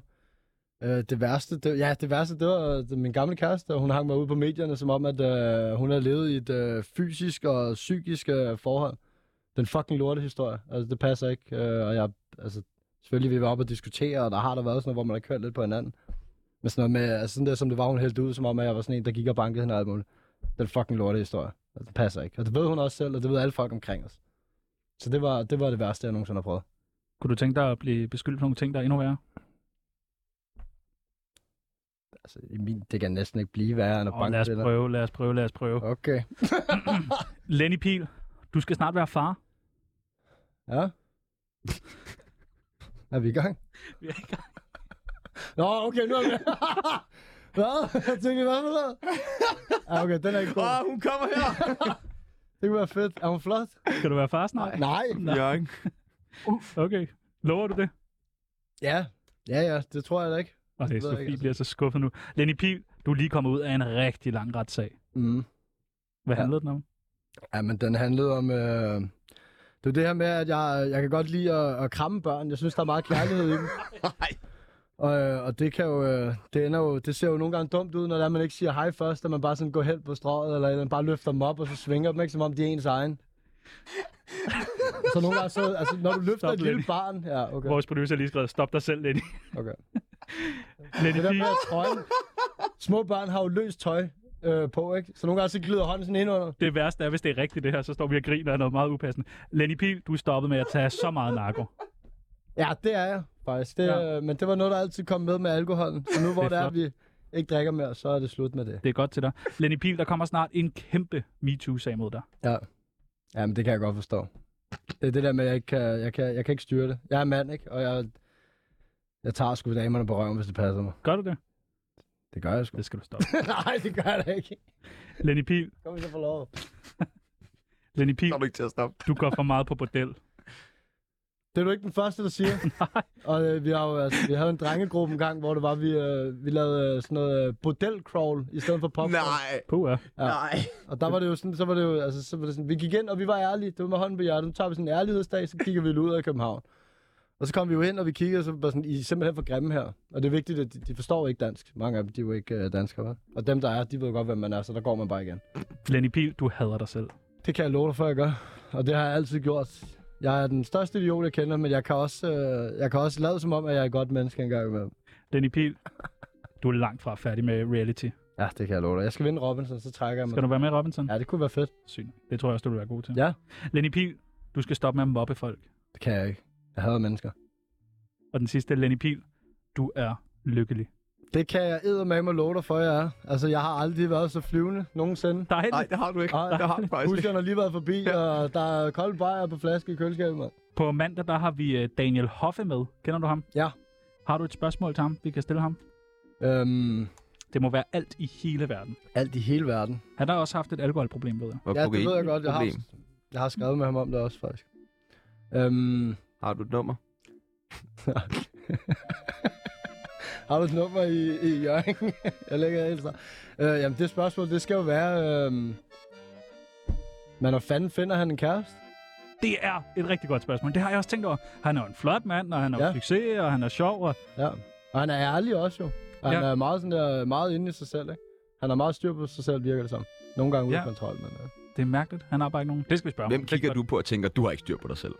Øh, det værste, det, ja, det værste, det var øh, min gamle kæreste, og hun hang mig ud på medierne, som om, at øh, hun havde levet i et øh, fysisk og psykisk øh, forhold. Den fucking lorte historie. Altså, det passer ikke. Øh, og jeg, altså, selvfølgelig vi var oppe og diskutere, og der har der været sådan noget, hvor man har kørt lidt på hinanden. Men sådan noget med, altså sådan der, som det var, hun hældte ud, som om, at jeg var sådan en, der gik og bankede hende og alt muligt. Den fucking lorte historie. Altså, det passer ikke. Og det ved hun også selv, og det ved alle folk omkring os. Så det var det, var det værste, jeg nogensinde har prøvet. Kunne du tænke dig at blive beskyldt for nogle ting, der er endnu værre? Altså, i min, det kan næsten ikke blive værre end at Og banke lad os det der. prøve, lad os prøve, lad os prøve. Okay. Lenny Pil, du skal snart være far. Ja. er vi i gang? Vi er i gang. Nå, okay, nu er vi... Hvad? Jeg tænkte, hvad for noget? Ja, okay, den er ikke god. Ah, Åh, hun kommer her! Det kunne være fedt. Er hun flot? Skal du være far snart? Nej. Jørgen. Okay. Lover du det? Ja. Ja, ja, det tror jeg da ikke. Og det ved jeg Sofie ikke, altså. bliver så skuffet nu. Lenny Pihl, du er lige kommet ud af en rigtig lang retssag. Mm. Hvad Ja. handlede den om? Jamen, den handlede om... Øh... Det er det her med, at jeg, jeg kan godt lide at, at kramme børn. Jeg synes, der er meget kærlighed i dem. Nej. Og, øh, og det kan jo, øh, det ender jo, det ser jo nogle gange dumt ud, når det er, man ikke siger hej først, og man bare sådan går hen på strået, eller, eller bare løfter dem op, og så svinger dem, ikke, som om de er ens egen. så nogle gange så, altså når du løfter Stop, et lille Lenny. barn, ja, okay, Vores producer har lige skrevet, stop dig selv, Lenny. okay. Lenny Det der Pihl, med at trøjen, små børn har jo løst tøj øh, på, ikke? Så nogle gange så glider hånden sådan ind under. det værste er, hvis det er rigtigt det her, så står vi og griner af noget meget upassende. Lenny Pihl, du er stoppet med at tage så meget narko. Ja, det er jeg faktisk. Det, Ja. ja. Men det var noget, der altid kom med med alkoholen. Så nu hvor Det det er er, flot. at vi ikke drikker mere, så er det slut med det. Det er godt til dig. Lenny Pihl, der kommer snart en kæmpe MeToo-sag mod dig. Ja. Jamen, det kan jeg godt forstå. Det er det der med, at jeg ikke kan, jeg kan, jeg kan ikke styre det. Jeg er mand, ikke? Og jeg, jeg tager sgu damerne på røven, hvis det passer mig. Gør du det? Det gør jeg sgu. Det skal du stoppe. Nej, det gør jeg da ikke. Lenny Pihl, Kom vi så for lov. Lenny Pihl, Kommer du ikke til at stoppe? du går for meget på bordel. Det er du ikke den første, der siger. Nej. Og øh, vi, har jo, altså, vi havde en drengegruppe en gang, hvor det var, vi, øh, vi lavede øh, sådan noget øh, bordel-crawl i stedet for pop Nej. Puh, ja. Ja. Nej. Og der var det jo sådan, så var det jo, altså, så var det sådan, vi gik ind, og vi var ærlige. Det var med hånden på hjertet. Nu tager vi sådan en ærlighedsdag, så kigger vi lidt ud af København. Og så kom vi jo ind, og vi kiggede, og så var det sådan, I er simpelthen for grimme her. Og det er vigtigt, at de, de forstår jo ikke dansk. Mange af dem, de er jo ikke øh, danskere, vel? Og dem, der er, de ved jo godt, hvem man er, så der går man bare igen. Lenny Pihl, du hader dig selv. Det kan jeg love dig for, jeg gør. Og det har jeg altid gjort. Jeg er den største idiot, jeg kender, men jeg kan også, øh, jeg kan også lade som om, at jeg er et godt menneske en gang imellem. Lenny Pihl, du er langt fra færdig med reality. Ja, det kan jeg love dig. Jeg skal vinde Robinson, så trækker jeg mig. Skal du være med, Robinson? Ja, det kunne være fedt. Syn. Det tror jeg også, du vil være god til. Ja. Lenny Pihl, du skal stoppe med at mobbe folk. Det kan jeg ikke. Jeg hader mennesker. Og den sidste, Lenny Pihl, du er lykkelig. Det kan jeg eddermame love dig for, jeg er. Altså, jeg har aldrig været så flyvende nogensinde. Dejligt. Nej, det har du ikke. Nej. det har du faktisk ikke. Huskeren har lige været forbi, og der er kolde bajer på flaske i køleskabet, mand. På mandag, der har vi øh, Daniel Hoffe med. Kender du ham? Ja. Har du et spørgsmål til ham, vi kan stille ham? Øhm, Det må være alt i hele verden. alt i hele verden. Han har også haft et alkoholproblem, ved jeg. Og Ja, det kokain- ved jeg godt. Jeg har, problem. jeg har skrevet med ham om det også, faktisk. Øhm, Har du et nummer? har du et nummer i, i Jørgen? jeg lægger helt så. Øh, jamen, det spørgsmål, det skal jo være... Øhm, men når fanden finder han en kæreste? Det er et rigtig godt spørgsmål. Det har jeg også tænkt over. Han er jo en flot mand, og han har ja. Ja. succes, og han er sjov. Og... Ja. Og han er ærlig også, jo. Og han Ja. er meget, sådan der, meget inde i sig selv, ikke? Han har meget styr på sig selv, virker det som. Nogle gange ude Ja. af kontrol, men... Øh. Det er mærkeligt. Han har bare ikke nogen. Det skal vi spørge Hvem ham. kigger du på og tænker, du har ikke styr på dig selv?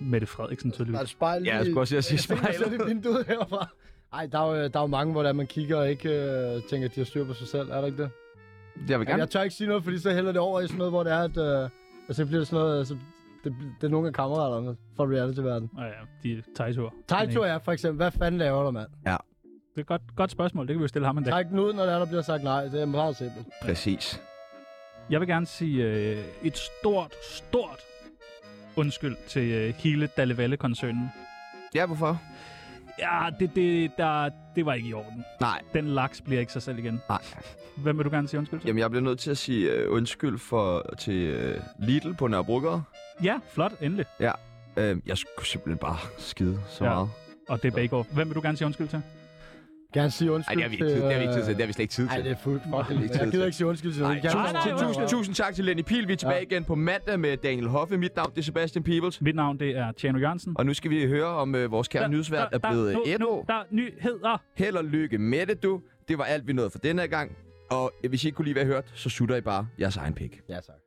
Mette Frederiksen, Der er tydeligvis. et spejl Ja, jeg skulle også lige sige Jeg ser spejlet. det vinduet herfra. Ej, der er, jo, der er jo mange, hvor der man kigger og ikke øh, tænker, at de har styr på sig selv. Er der ikke det? Jeg vil Jamen, gerne. jeg tør ikke sige noget, fordi så hælder det over i sådan noget, hvor det er, at... Øh, og så bliver det sådan noget... Altså, det, det er nogle af kammeraterne fra reality-verden. Nå ja, de er tegtur. Taito er for eksempel. Hvad fanden laver du, mand? øh, Det er et godt, godt spørgsmål. Det kan vi jo stille ham en dag. Træk den ud, når der, er, der bliver sagt nej. Det er meget simpelt. Præcis. Jeg vil gerne sige øh, et stort, stort undskyld til øh, hele Dallevalle-koncernen. Ja, hvorfor? Ja, det, det, der, det var ikke i orden. Nej, Den laks bliver ikke sig selv igen. nej. Hvem vil du gerne sige undskyld til? Jamen, jeg bliver nødt til at sige øh, undskyld for, til øh, Lidl på Nørrebrogade. Ja, flot, endelig. Øh, jeg skulle simpelthen bare skide så Ja. ja. meget. Og det er Bake Off. Hvem vil du gerne sige undskyld til? Gerne sige undskyld øh, har vi slet ikke tid Nej, det er fuldt ikke tid fucking... Jeg gider til. ikke sige undskyld til Nej, nogen. Jeg tusind, vil nej, bare- nej, tusind, tusind tak til Lenny Pihl. Vi er tilbage ja. igen på mandag med Daniel Hoffe. Mit navn det er Sebastian Peebles. Mit navn, det er Tjano Jørgensen. Og nu skal vi høre, om øh, vores kære nyhedsvært er blevet der, et nu, nu, år. der er nyheder. Held og lykke med det, du. Det var alt, vi nåede for denne her gang. Og øh, hvis I ikke kunne lide, hvad I hørte, så sutter I bare jeres egen pik. Ja, tak.